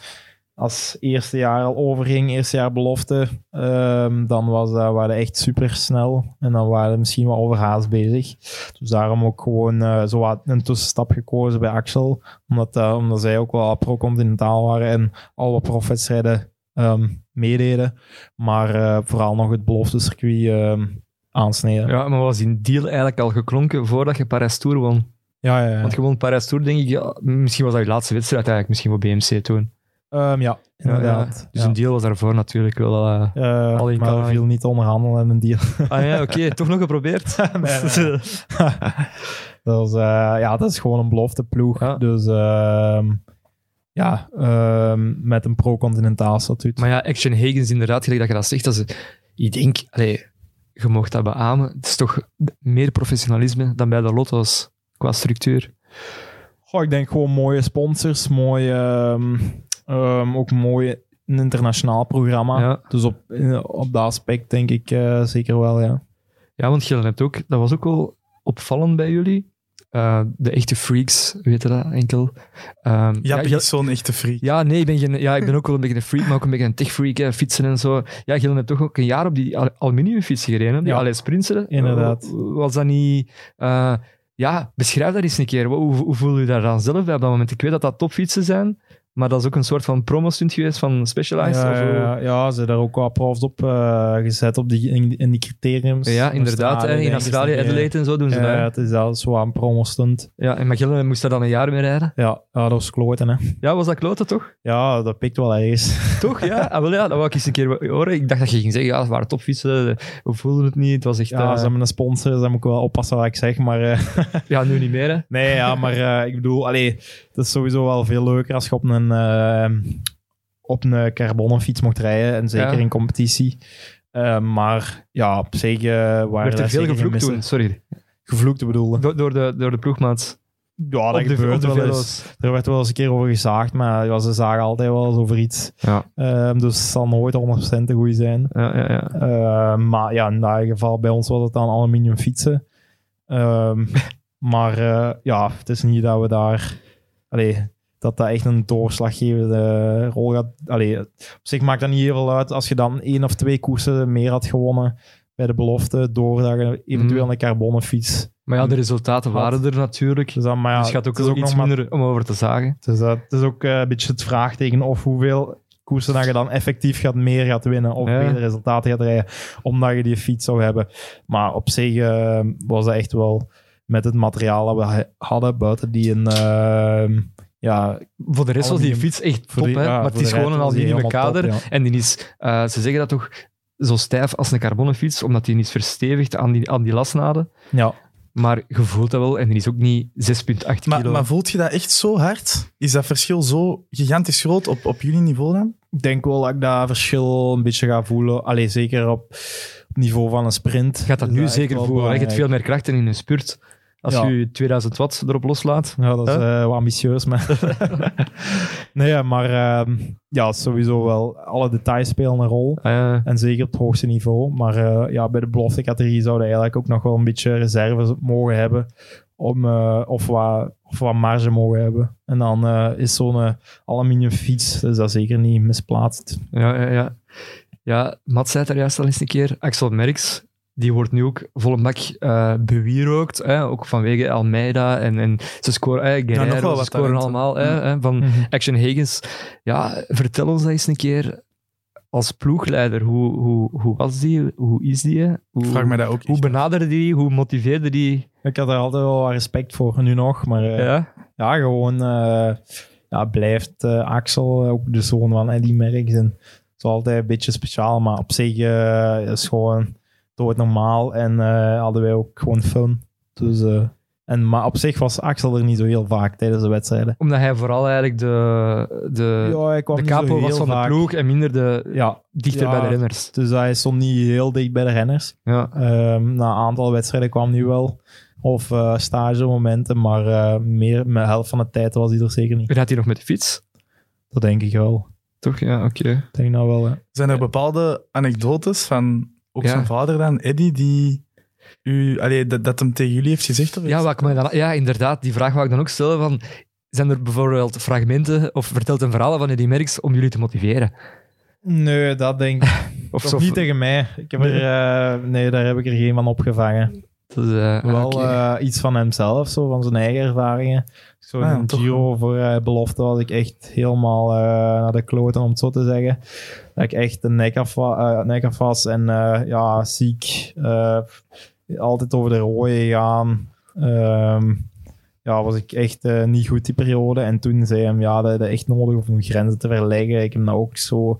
F: als eerste jaar al overging, eerste jaar belofte, ehm, dan was, dat waren we echt super snel. En dan waren we misschien wel overhaast bezig. Dus daarom ook gewoon eh, zo wat een tussenstap gekozen bij Axel. Omdat, eh, omdat zij ook wel pro-continentaal waren en al wat profwedstrijden ehm, meededen. Maar eh, vooral nog het belofte circuit ehm, aansneden.
E: ja, maar was die deal eigenlijk al geklonken voordat je Parijs Tour won?
F: Ja, ja, ja.
E: Want gewoon Parijs Tour, denk ik, ja, misschien was dat je laatste wedstrijd eigenlijk, misschien voor BMC toen.
F: Ehm, ja inderdaad.
E: Dus een deal was daarvoor natuurlijk wel... eh,
F: Eh,
E: Al in
F: maar
E: Calgary.
F: viel niet onderhandelen en een deal.
E: (laughs) Ah ja, oké, toch nog geprobeerd.
F: nee, nee. Dat is, eh, ja, dat is gewoon een belofteploeg.
E: Ja.
F: Dus ehm, ja, ehm, met een pro-continentaal statuut.
E: Maar ja, Action Higgins, inderdaad, gelijk dat je dat zegt. Dat is, ik denk, allee, je mocht dat beamen. Het is toch meer professionalisme dan bij de Lotto's qua structuur.
F: Goh, ik denk gewoon mooie sponsors, mooie, ehm, ehm, ook mooi een internationaal programma.
E: Ja.
F: Dus op, eh, op dat aspect denk ik eh, zeker wel, ja.
E: Ja, want Gillen hebt ook, dat was ook wel opvallend bij jullie. Eh, de echte freaks, weet je dat enkel? Ehm,
D: Ja,
E: Gillen-
D: Piet is zo'n echte freak.
E: Ja, nee, ik ben, geen, ja, ik ben ook wel een beetje een freak, maar ook een beetje een tech-freak, hè, fietsen en zo. Ja, Gillen hebt toch ook een jaar op die al- aluminiumfiets gereden, hè, die
F: Ja.
E: ja. Alex Prinsen.
F: Inderdaad.
E: Eh, Was dat niet... eh, ja, beschrijf dat eens een keer. Hoe, hoe voel je daar dan zelf bij op dat moment? Ik weet dat dat topfietsen zijn, maar dat is ook een soort van promostunt geweest van Specialized.
F: Ja,
E: of hoe-
F: ja, ja, ja, ze hebben daar ook wat profs op eh, gezet op die, in, in die criteriums.
E: Ja, inderdaad. hè, in
F: denk ik,
E: Australië,
F: is dat, eh,
E: Adelaide en zo doen ze dat.
F: Ja,
E: hè.
F: het is zelfs wel een promostunt.
E: Ja, en Magillen moest daar dan een jaar mee rijden.
F: Ja, ja, dat is kloten, hè.
E: Ja, was dat kloten toch?
F: Ja, dat pikt wel ergens.
E: Toch, ja? Ah, wel, ja, dat wou ik eens een keer horen. Ik dacht dat je ging zeggen, ja, het waren topfietsen, we voelden het niet. Het was echt...
F: Ja,
E: eh,
F: ze hebben een sponsor, dus daar moet ik wel oppassen wat ik zeg. Maar eh, (laughs)
E: ja nu niet meer, hè.
F: nee, ja, maar eh, ik bedoel, allee, het is sowieso wel veel leuker als je op een, eh, op een carbonnen fiets mocht rijden. En zeker
E: Ja.
F: in competitie. Eh, maar ja, op zeker waar
E: werd er veel gevloekt toen, sorry.
F: Gevloekt bedoelde.
E: Door, door, de, door de ploegmaat.
F: Ja, dat
E: op de, op
F: gebeurt
E: de
F: wel eens.
E: velo's.
F: Er werd wel eens een keer over gezaagd, maar ja, ze zagen altijd wel eens over iets.
E: Ja.
F: Ehm, dus het zal nooit 100% de goede zijn.
E: Ja, ja, ja.
F: Ehm, maar ja, in dat geval bij ons was het dan aluminium fietsen. Ehm, (laughs) maar eh, ja, het is niet dat we daar... Allee, dat dat echt een doorslaggevende rol gaat... Allee, op zich maakt dat niet heel veel uit. Als je dan één of twee koersen meer had gewonnen bij de belofte, door dat je eventueel
E: Mhm.
F: een carbonnen fiets...
E: Maar ja, de resultaten waren er natuurlijk.
F: Dus dan, maar ja,
E: dus het gaat ook,
F: het is
E: wel iets
F: nog maar
E: minder om over te zagen.
F: Dus dat het is ook eh, een beetje het vraagteken of hoeveel koersen dat je dan effectief gaat meer gaat winnen of
E: Ja.
F: betere resultaten gaat rijden, omdat je die fiets zou hebben. Maar op zich eh, was dat echt wel met het materiaal dat we ha- hadden, buiten die een... ehm, ja,
E: Voor de rest was die
F: Aluminium.
E: fiets echt
F: voor
E: top,
F: Oh, die-
E: hè.
F: ja,
E: maar het
F: voor
E: is
F: de
E: gewoon een
F: rest was die
E: aluminium
F: helemaal top,
E: kader.
F: ja.
E: En die is, eh, ze zeggen dat toch, zo stijf als een carbonnen fiets, omdat die is verstevigd aan die, aan die lasnaden.
F: ja.
E: Maar je voelt dat wel, en die is ook niet 6,8 kilo.
D: Maar, maar voelt je dat echt zo hard? Is dat verschil zo gigantisch groot op, op jullie niveau dan?
F: ik denk wel dat ik dat verschil een beetje ga voelen. Allee, zeker op het niveau van een sprint.
E: Je gaat dat
F: Is
E: nu
F: echt
E: zeker
F: wel
E: voelen. hè. Je hebt
F: belangrijk.
E: veel meer krachten in je spurt. Als
F: Ja.
E: je 2000 watt erop loslaat.
F: Ja, dat is eh, wel ambitieus, maar... nee, ja, maar ehm, ja, sowieso wel. Alle details spelen een rol.
E: Eh,
F: En zeker op het hoogste niveau. Maar eh, ja, bij de beloftecategorie zouden eigenlijk ook nog wel een beetje reserves mogen hebben. Om, eh, of, wat, of wat marge mogen hebben. En dan eh, is zo'n eh, aluminium fiets, dus dat zeker niet misplaatst.
E: Ja, ja, ja. ja Matt zei het er juist al eens een keer. Axel Merks, die wordt nu ook volle bak eh bewierookt. Hè? Ook vanwege Almeida en, en ze scoren, eh, Guerreiro,
D: nog wel
E: ze
D: wat
E: scoren
D: talent, hè.
E: allemaal hè, hè, van Action Higgins. Ja, vertel ons dat eens een keer als ploegleider. Hoe, hoe, hoe was die? Hoe is die? Hoe,
D: Vraag mij dat ook
E: hoe
D: echt.
E: benaderde die? Hoe motiveerde die?
F: Ik had er altijd wel wat respect voor, nu nog. Maar eh,
E: Ja.
F: ja, gewoon eh, ja, blijft eh, Axel, eh, ook de zoon van Eddie Merckx. En het is altijd een beetje speciaal, maar op zich eh, is gewoon doodnormaal. En eh, hadden wij ook gewoon fun. Dus, eh, en, maar op zich was Axel er niet zo heel vaak tijdens de wedstrijden. Eh,
E: Omdat hij vooral eigenlijk de, de,
F: ja, hij kwam
E: de
F: niet zo
E: capo was
F: heel
E: van
F: vaak.
E: de ploeg en minder de,
F: Ja,
E: dichter
F: Ja.
E: bij de renners.
F: dus hij stond niet heel dicht bij de renners.
E: Ja.
F: Ehm, na een aantal wedstrijden kwam hij wel. Of eh stage momenten, maar eh, meer, met de helft van de tijd was hij er zeker niet.
E: Rijdt hij nog met de fiets?
F: Dat denk ik wel.
E: Toch? Ja, oké.
F: Ik denk nou wel, hè.
D: Zijn er bepaalde anekdotes van ook
E: Ja.
D: zijn vader dan, Eddie, die u, allee, dat, dat hem tegen jullie heeft gezegd? Of
E: Ja, wat ik mij dan, ja, inderdaad. Die vraag wou ik dan ook stellen. Van, zijn er bijvoorbeeld fragmenten of vertelt een verhaal van Eddie Merckx om jullie te motiveren?
F: Nee, dat denk
D: (laughs)
F: ik
E: Of
F: toch niet tegen mij. Ik heb er, eh, nee, daar heb ik er geen van opgevangen.
E: Dat is, eh, ah,
F: Wel
E: oké.
F: eh, iets van hemzelf, zo, van zijn eigen ervaringen. Zo
D: Ah,
F: in een
D: toch
F: Giro voor eh, belofte was ik echt helemaal eh, naar de kloten, om het zo te zeggen. Dat ik echt de nek af, wa- eh, nek af was en eh, ja, ziek. eh, altijd over de rode gegaan. Ehm, ja, was ik echt eh, niet goed die periode. En toen zei hem, ja, dat is echt nodig om grenzen te verleggen. Ik heb dat ook zo,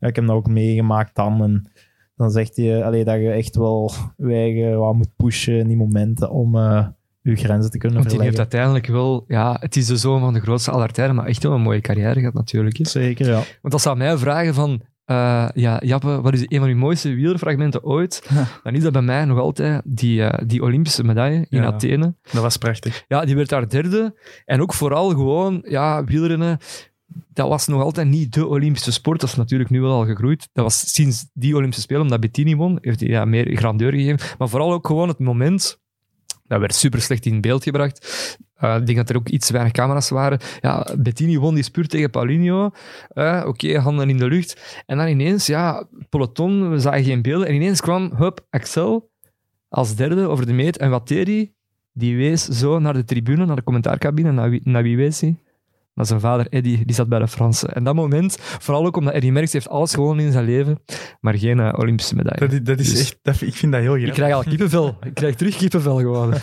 F: ja, ik heb dat ook meegemaakt dan. En dan zegt hij, eh, allee, dat je echt wel je eigen wat moet pushen in die momenten om eh, uw grenzen te kunnen
E: Want die heeft
F: verleggen.
E: uiteindelijk wel... Ja, het is de zoon van de grootste aller tijden, maar echt wel een mooie carrière gehad natuurlijk. hè.
F: Zeker, ja.
E: Want als ze aan mij vragen van... eh, ja, Jappe, wat is een van uw mooiste wielerfragmenten ooit? Dan is dat bij mij nog altijd die, eh, die Olympische medaille in
D: Ja.
E: Athene.
D: Dat was prachtig.
E: Ja, die werd daar derde. En ook vooral gewoon, ja, wielrennen. Dat was nog altijd niet de Olympische sport. Dat is natuurlijk nu wel al gegroeid. Dat was sinds die Olympische Spelen, omdat Bettini won, heeft hij ja, meer grandeur gegeven. Maar vooral ook gewoon het moment. Dat werd super slecht in beeld gebracht. Eh, ik denk dat er ook iets te weinig camera's waren. Ja, Bettini won die spuur tegen Paulinho. Eh, Oké, handen in de lucht. En dan ineens, ja, peloton, we zagen geen beelden. En ineens kwam, hup, Axel als derde over de meet. En wat deed hij? Die wees zo naar de tribune, naar de commentaarcabine. Naar wie, naar wie wees hij? Naar zijn vader Eddy, die zat bij de Fransen. En dat moment, vooral ook omdat Eddy Merckx heeft alles gewonnen in zijn leven, maar geen eh, Olympische medaille.
D: Dat, i- dat is
E: Dus-
D: echt, dat, ik vind dat heel
E: Ik
D: grappig.
E: krijg al kippenvel. Ik krijg terug kippenvel (laughs) gewoon.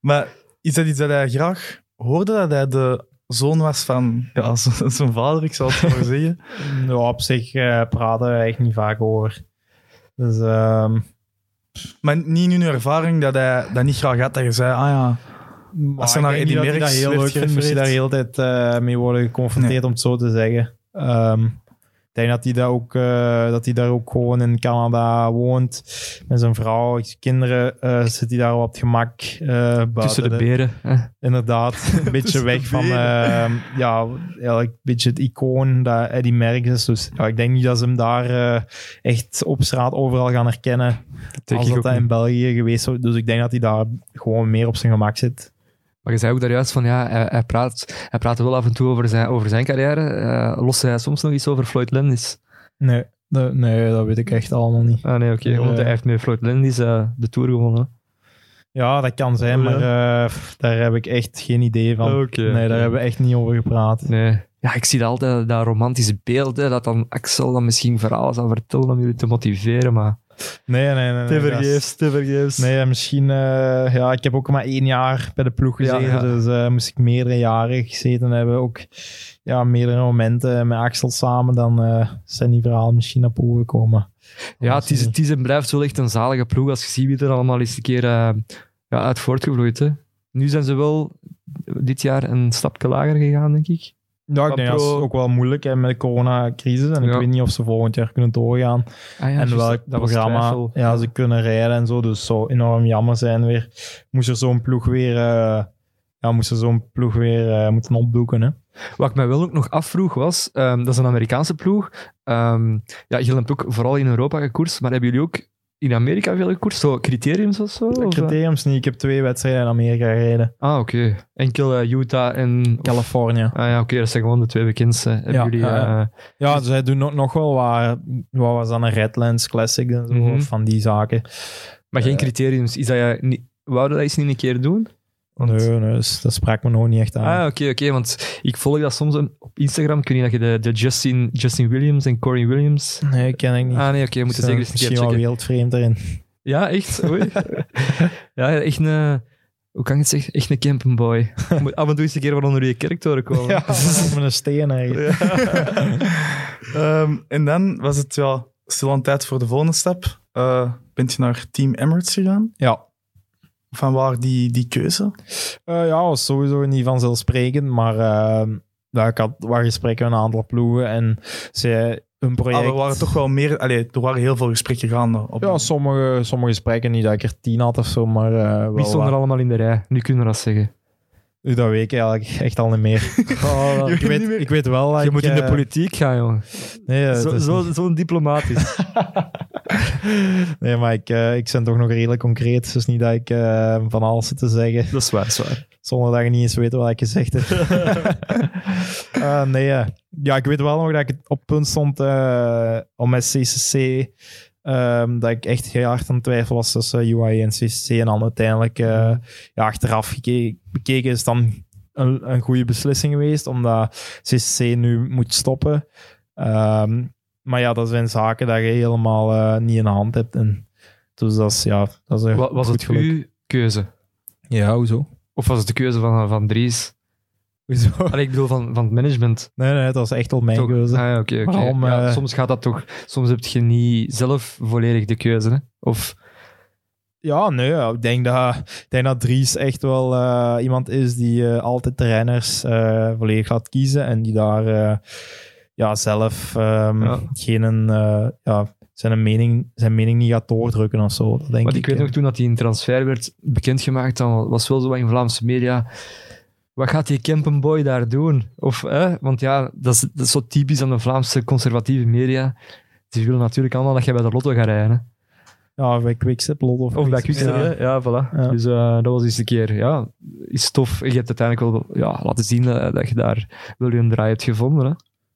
D: Maar is dat iets dat hij graag hoorde? Dat hij de zoon was van ja, (laughs) z- zijn vader, ik zal het maar
F: (laughs)
D: zeggen.
F: ja op zich eh, praten we echt niet vaak over. Dus ehm,
D: Maar niet in uw ervaring dat hij dat niet graag had. Dat je zei, ah ja,
F: Maar
D: Als er
F: ik
D: naar
F: denk
D: Eddy
F: niet dat hij dat
D: Merckx
F: heel
D: werd
F: leuk vindt, moest hij daar heel de tijd eh, mee worden geconfronteerd, om het zo te zeggen. Ehm, ik denk dat hij, daar ook, eh, dat hij daar ook gewoon in Canada woont. Met zijn vrouw, zijn kinderen. eh, zit hij daar op het gemak. eh, buiten
E: Tussen de beren. hè. (laughs)
F: Inderdaad. Een beetje
D: Tussen
F: weg
D: de
F: van
D: benen.
F: ehm, ja, eigenlijk een beetje het icoon dat Eddie Merckx is. Dus ja, ik denk niet dat ze hem daar eh, echt op straat overal gaan herkennen.
E: Dat denk
F: Als
E: ik
F: dat
E: ook
F: hij
E: niet.
F: in België geweest zou. Dus ik denk dat hij daar gewoon meer op zijn gemak zit.
E: Maar je zei ook daar juist van, ja, hij, hij praat, hij praat wel af en toe over zijn, over zijn carrière. Eh lost hij soms nog iets over Floyd Landis?
F: Nee, dat, nee, dat weet ik echt allemaal niet.
E: Ah nee, oké.
F: Eh.
E: want hij heeft met Floyd Landis eh, de Tour gewonnen.
F: Ja, dat kan zijn, maar eh, pff, daar heb ik echt geen idee van. nee, daar hebben we echt niet over gepraat.
E: Nee. Ja, ik zie dat altijd dat romantische beeld, hè, dat dan Axel dan misschien verhalen zal vertellen om jullie te motiveren, maar...
F: Nee, nee, nee. nee, dat is-
E: te vergeefs.
D: (laughs)
F: Nee, misschien... eh, ja, ik heb ook maar één jaar bij de ploeg
E: Ja,
F: gezeten,
E: ja.
F: dus eh, moest ik meerdere jaren gezeten hebben. Ook ja, meerdere momenten met Axel samen, dan eh, zijn die verhalen misschien naar boven gekomen.
E: Ja, het is, het is en blijft wel echt een zalige ploeg als je ziet wie er allemaal eens een keer eh, ja, uit voortgevloeid. Hè. Nu zijn ze wel dit jaar een stapje lager gegaan, denk ik.
F: Ja, ik denk dat is
E: Pro-
F: ook wel moeilijk hè, met de coronacrisis. En ik
E: Ja.
F: weet niet of ze volgend jaar kunnen doorgaan.
E: Ah, ja,
F: en
E: juist,
F: welk
E: dat was
F: programma
E: twijfel.
F: ja, ze kunnen rijden en zo. Dus zou enorm jammer zijn weer. Moest er zo'n ploeg weer, eh, ja, moest er zo'n ploeg weer eh, moeten opdoeken. Hè?
E: Wat ik mij wel ook nog afvroeg was, ehm, dat is een Amerikaanse ploeg. Ehm, ja, jullie hebt ook vooral in Europa gekoerst, maar hebben jullie ook in Amerika veel gekoerst? Zo criteriums of zo?
F: Ik
E: of, eh?
F: criteriums niet. Ik heb twee wedstrijden in Amerika gereden.
E: Ah, oké. Enkel eh, Utah en...
F: Californië.
E: Ah ja, oké, dat zijn gewoon de twee bekendste. Hebben
F: Ja,
E: jullie...
F: ja, ja.
E: eh,
F: Ja, zij doen nog, nog wel wat. Wat was dan een Redlands Classic en zo?
E: Mhm.
F: of Van die zaken.
E: maar
F: Eh.
E: geen criteriums. Is dat je... niet- Wou je dat eens niet een keer doen? Want-
F: Nee, nee, dus dat sprak me nog niet echt aan.
E: Ah, oké, oké. want ik volg dat soms een- op Instagram. Ik weet niet dat je de, de Justin, Justin Williams en Corey Williams...
F: Nee, ken ik niet.
E: Ah nee, oké, je moet
F: Dus,
E: het
F: eh,
E: zeker eens een keer
F: misschien wel
E: checken.
F: wereldvreemd erin.
E: Ja, echt?
F: (laughs)
E: Oei. ja, echt een... Hoe kan ik het zeggen? Echt een campingboy. Je Moet af en toe eens een keer van onder je kerktoren komen.
F: (laughs) Ja, met een steen eigenlijk.
D: (laughs) Ehm, en dan was het ja, stil aan tijd voor de volgende stap. Eh, bent je naar Team Emirates gegaan?
F: Ja.
D: Van waar die, die keuze?
F: Eh, ja, was sowieso niet vanzelfsprekend, maar eh, ja, ik had wat gesprekken met een aantal ploegen en ze hun project...
D: Ah, er waren toch wel meer... Allee, er waren heel veel gesprekken gaande. Op
F: Ja, sommige, sommige gesprekken, niet dat ik er tien had of zo, maar eh wel
E: Wie stond er
F: wat.
E: allemaal in de rij? Nu kunnen we dat zeggen.
F: Nu, Dat weet ik eigenlijk echt al niet
E: (laughs)
F: meer. (laughs) Oh,
E: je
F: ik, weet, ik weet wel dat
E: je
F: ik,
E: moet in de
F: eh,
E: politiek gaan, jongen.
F: Nee, eh,
E: Zo,
F: het is
E: zo, zo'n diplomatisch.
F: niet- (laughs) nee maar ik, eh, ik ben toch nog redelijk concreet, dus niet dat ik eh, van alles zit te zeggen.
E: dat is waar, dat is waar.
F: Zonder dat je niet eens weet wat ik gezegd
E: (laughs)
F: heb. Eh, nee, eh. ja, ik weet wel nog dat ik op het punt stond eh, om met CCC. ehm, dat ik echt heel hard aan het twijfel was tussen UI en CCC. En dan uiteindelijk eh,
E: Mm-hmm.
F: ja, achteraf geke- bekeken is dan een, een goede beslissing geweest. Omdat CCC nu moet stoppen. Ehm, maar ja, dat zijn zaken dat je helemaal eh, niet in de hand hebt. En, dus dat is, (laughs) ja, dat is een
E: Wa- Was
F: goed
E: het
F: geluk.
E: uw keuze?
F: Ja, hoezo?
E: Of was het de keuze van, eh, van Dries?
F: Hoezo?
E: Allee, ik bedoel, van, van het management.
F: Nee, nee, dat was echt wel mijn
E: Toch?
F: keuze.
E: Ah, ja, oké, oké.
F: Waarom,
E: Ja,
F: eh,
E: soms gaat dat toch... Soms heb je niet zelf volledig de keuze, hè? Of...
F: Ja, nee, ja, ik denk dat, ik denk dat Dries echt wel eh, iemand is die eh, altijd de renners eh, volledig laat kiezen en die daar eh, ja, zelf ehm,
E: Ja.
F: geen, eh, ja, zijn, mening, zijn mening niet gaat doordrukken of zo. Dat denk
E: Want
F: ik,
E: ik weet
F: eh.
E: nog, toen dat hij in transfer werd bekendgemaakt, dan was wel zo wat in Vlaamse media. Wat gaat die Kempenboy daar doen? Of, hè? Want ja, dat is, dat is zo typisch aan de Vlaamse conservatieve media. Die willen natuurlijk allemaal dat jij bij de lotto gaat rijden.
F: Ja, bij Quickstep, Lot of,
E: Of bij Quickstep,
F: Ja.
E: ja. ja, voilà.
F: Ja.
E: Dus eh, dat was eens een keer, ja, is tof. Je hebt uiteindelijk wel ja, laten zien eh, dat je daar wel een draai hebt gevonden. Hè?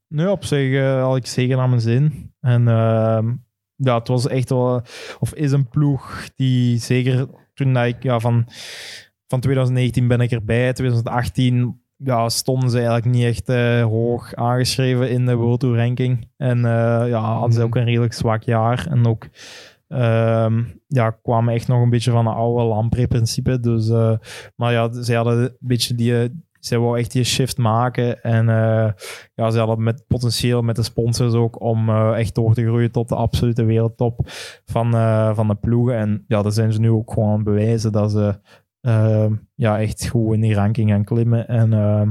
F: Nee, op zich eh, had ik zeker naar mijn zin. En ehm, ja, het was echt wel... Of is een ploeg die zeker toen dat ik... Ja, van, van 2019 ben ik erbij. 2018 ja, stonden ze eigenlijk niet echt eh, hoog aangeschreven in de World Tour ranking. En eh, ja, hadden ze ook een redelijk zwak jaar. En ook... ehm, ja, kwamen echt nog een beetje van de oude Lampre-principe. Dus, eh, maar ja, zij hadden een beetje die... eh, Zij wou echt die shift maken. En eh, ja, ze hadden met potentieel met de sponsors ook om eh, echt door te groeien tot de absolute wereldtop van, eh, van de ploegen. En ja, daar zijn ze nu ook gewoon aan het bewijzen dat ze eh, ja, echt goed in die ranking gaan klimmen. En eh,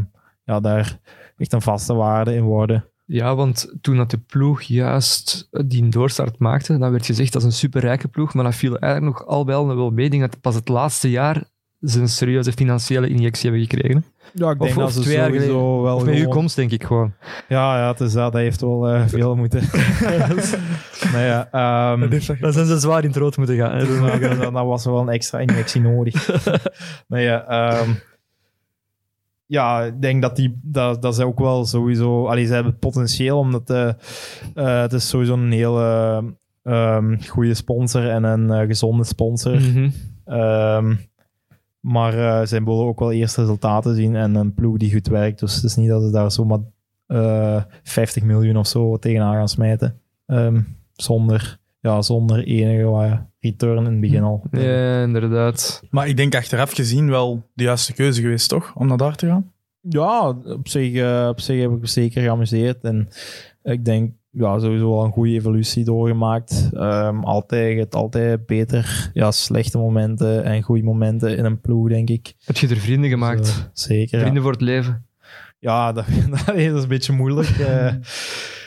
F: ja, daar echt een vaste waarde in worden.
E: Ja, want toen dat de ploeg juist eh, die doorstart maakte, dan werd gezegd dat is een superrijke ploeg, maar dat viel eigenlijk nog al wel wel mee. Ik denk dat pas het laatste jaar ze een serieuze financiële injectie hebben gekregen. hè.
F: Ja, ik denk
E: of
F: dat ze
E: twee jaar
F: sowieso wel
E: Of met uw
F: gewoon-
E: komst, denk ik gewoon.
F: Ja, ja, het is dat. Dat heeft wel eh, veel (laughs) moeten. maar ja, ehm,
E: Dan zijn ze zwaar in het rood moeten
F: (laughs)
E: gaan.
F: Dus
E: (laughs)
F: nou, dan, dan was er wel een extra injectie nodig. maar ja, ehm, ja, ik denk dat, die, dat, dat ze ook wel sowieso... Allee, ze hebben het potentieel, omdat eh, eh, het is sowieso een hele ehm, goede sponsor en een eh, gezonde sponsor.
E: Mhm.
F: Ehm, maar eh, zij willen ook wel eerst resultaten zien en een ploeg die goed werkt. Dus het is niet dat ze daar zomaar eh 50 miljoen of zo tegenaan gaan smijten. Ehm, zonder, ja, zonder enige eh, return in het begin al.
E: Ja, inderdaad.
D: Maar ik denk achteraf gezien wel de juiste keuze geweest, toch? Om naar daar te gaan?
F: Ja, op zich, eh, op zich heb ik me zeker geamuseerd. En ik denk ja, sowieso wel een goede evolutie doorgemaakt. Ehm, altijd, het altijd beter. Ja, slechte momenten en goede momenten in een ploeg, denk ik.
E: Heb je er vrienden gemaakt?
F: Dus, eh, zeker. ja.
E: Vrienden voor het leven.
F: Ja, (laughs) dat, dat is een beetje moeilijk.
E: (laughs)
F: eh.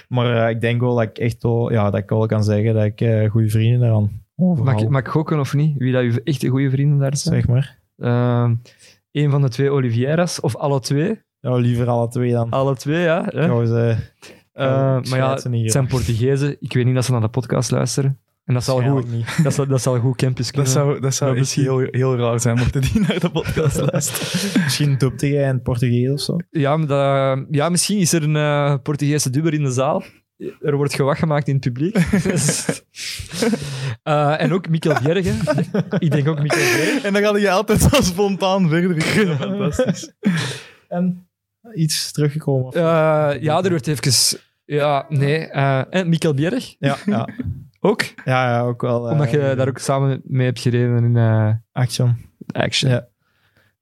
F: maar eh, ik denk wel dat ik echt wel, ja, dat ik wel kan zeggen dat ik eh, goede vrienden daaraan overhoud.
E: Mag, ik- mag ik gokken of niet? Wie dat je echte goede vrienden daar zijn? Ehm,
F: zeg maar.
E: een van de twee Olivieras, of alle twee.
F: Ja, liever alle twee dan.
E: Alle twee, ja. Ah, hè?
F: Trouwens, eh,
E: Eh,
F: Ja, ik
E: maar ja,
F: schrijf ze niet
E: het zijn Portugezen. Ik weet niet dat ze naar de podcast luisteren. En dat zal goed,
F: waarschijnlijk
E: (laughs)
F: niet.
E: dat zal, dat zal goed campus
D: Dat
E: kunnen.
D: zou, dat zou
E: Maar
D: echt heel, heel raar zijn, mochten die naar de (laughs) podcast luisteren.
F: Misschien dubte jij in het Portugees of zo.
E: ja, maar dat- ja, misschien is er een eh, Portugese dubber in de zaal. Er wordt gewacht gemaakt in het
D: (laughs)
E: publiek. Eh, en ook Mikkel Bjergen. Ik denk ook Mikkel Bjergen.
D: En dan ga je altijd zo spontaan verder. Fantastisch.
F: (laughs) En iets teruggekomen. Ja,
E: Eh, ja, er werd even... Ja, nee. eh, en Mikkel Bjerg
F: ja, ja,
E: ook.
F: ja, ook wel. eh,
E: omdat je daar ook samen mee hebt gereden in eh,
F: Action.
E: Action.
F: Ja.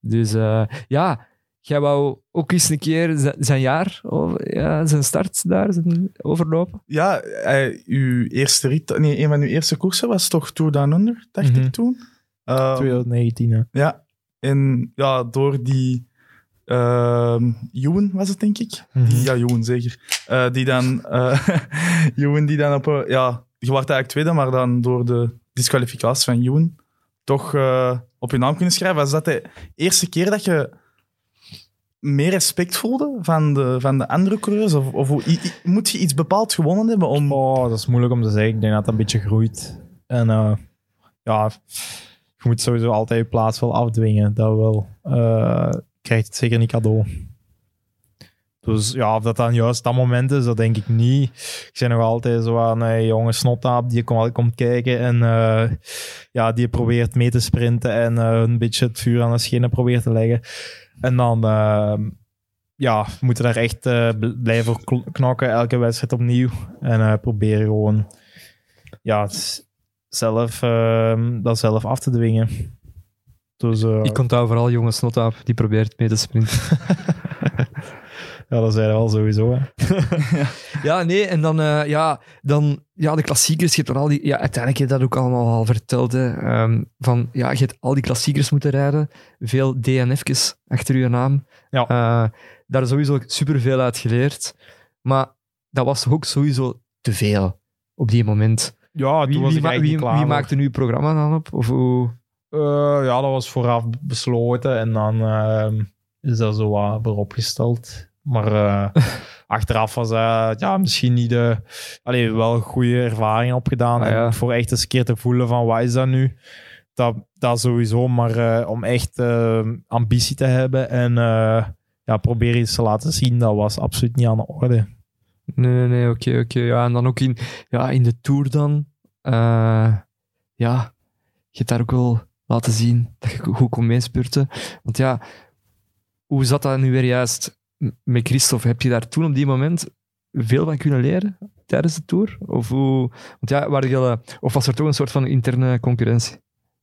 E: Dus eh, ja, jij wou ook eens een keer z- zijn jaar, over- ja, zijn start daar zijn overlopen.
D: Ja, eh, uw eerste rit, nee, een van uw eerste koersen was toch Tour Down Under, dacht
F: Mhm.
D: ik toen. Eh,
F: 2019, hè.
D: ja, en ja, door die ehm Joen was het, denk ik.
E: Mhm.
D: Die, ja, Joen, zeker. Eh, die dan, eh (laughs) Joen die dan op een, ja, je werd eigenlijk tweede, maar dan door de disqualificatie van Joen toch eh, op je naam kunnen schrijven. Was dat de eerste keer dat je meer respect voelde van de, van de andere coureurs? Of, of hoe- i- i- moet je iets bepaald gewonnen hebben om...
F: Oh, dat is moeilijk om te zeggen. Ik denk dat dat een beetje groeit. En eh, ja, je moet sowieso altijd je plaats wel afdwingen. Dat wel. Eh, je krijgt het zeker niet cadeau. Dus ja, of dat dan juist dat moment is, dat denk ik niet. Ik ben nog altijd zo aan een jonge snottaap die komt, komt kijken en eh, ja, die probeert mee te sprinten en eh, een beetje het vuur aan de schenen probeert te leggen. En dan eh, ja, we moeten daar echt eh, bl- blijven voor kl- knokken, elke wedstrijd opnieuw. En eh, proberen gewoon ja, s- zelf, ehm, dat zelf af te dwingen. Dus eh,
E: Ik onthoud vooral jonge Snotaap, die probeert mee te sprinten.
F: Ja, dat zijn we wel sowieso. Hè.
E: (laughs) Ja, nee, en dan, eh, ja, dan ja, de klassiekers, je hebt dan al die... Ja, uiteindelijk heb je dat ook allemaal al verteld, hè. Ehm, van, ja, je hebt al die klassiekers moeten rijden, veel DNF's achter je naam.
F: Ja.
E: Eh, daar is sowieso superveel uit geleerd, maar dat was ook sowieso te veel op die moment.
F: Ja,
E: Wie, wie, ma- wie, wie maakte nu het programma dan op? Of hoe...
F: Eh, ja, dat was vooraf besloten en dan ehm, is dat zo wat vooropgesteld. Maar (laughs) eh, achteraf was dat ja, misschien niet de... Allee, wel goede ervaring opgedaan.
E: Ah, ja.
F: En Voor echt eens een keer te voelen van, wat is dat nu? Dat, dat sowieso, maar eh, om echt eh, ambitie te hebben en eh, ja, proberen iets te laten zien, dat was absoluut niet aan de orde.
E: Nee, nee, nee, oké, oké. Ja, en dan ook in, ja, in de Tour dan. eh, ja, je hebt daar ook wel laten zien dat je go- goed kon meespurten. Want ja, hoe zat dat nu weer juist m- met Christophe? Heb je daar toen op die moment veel van kunnen leren tijdens de Tour? Of, hoe, want ja, waren jullie- of was er toch een soort van interne concurrentie?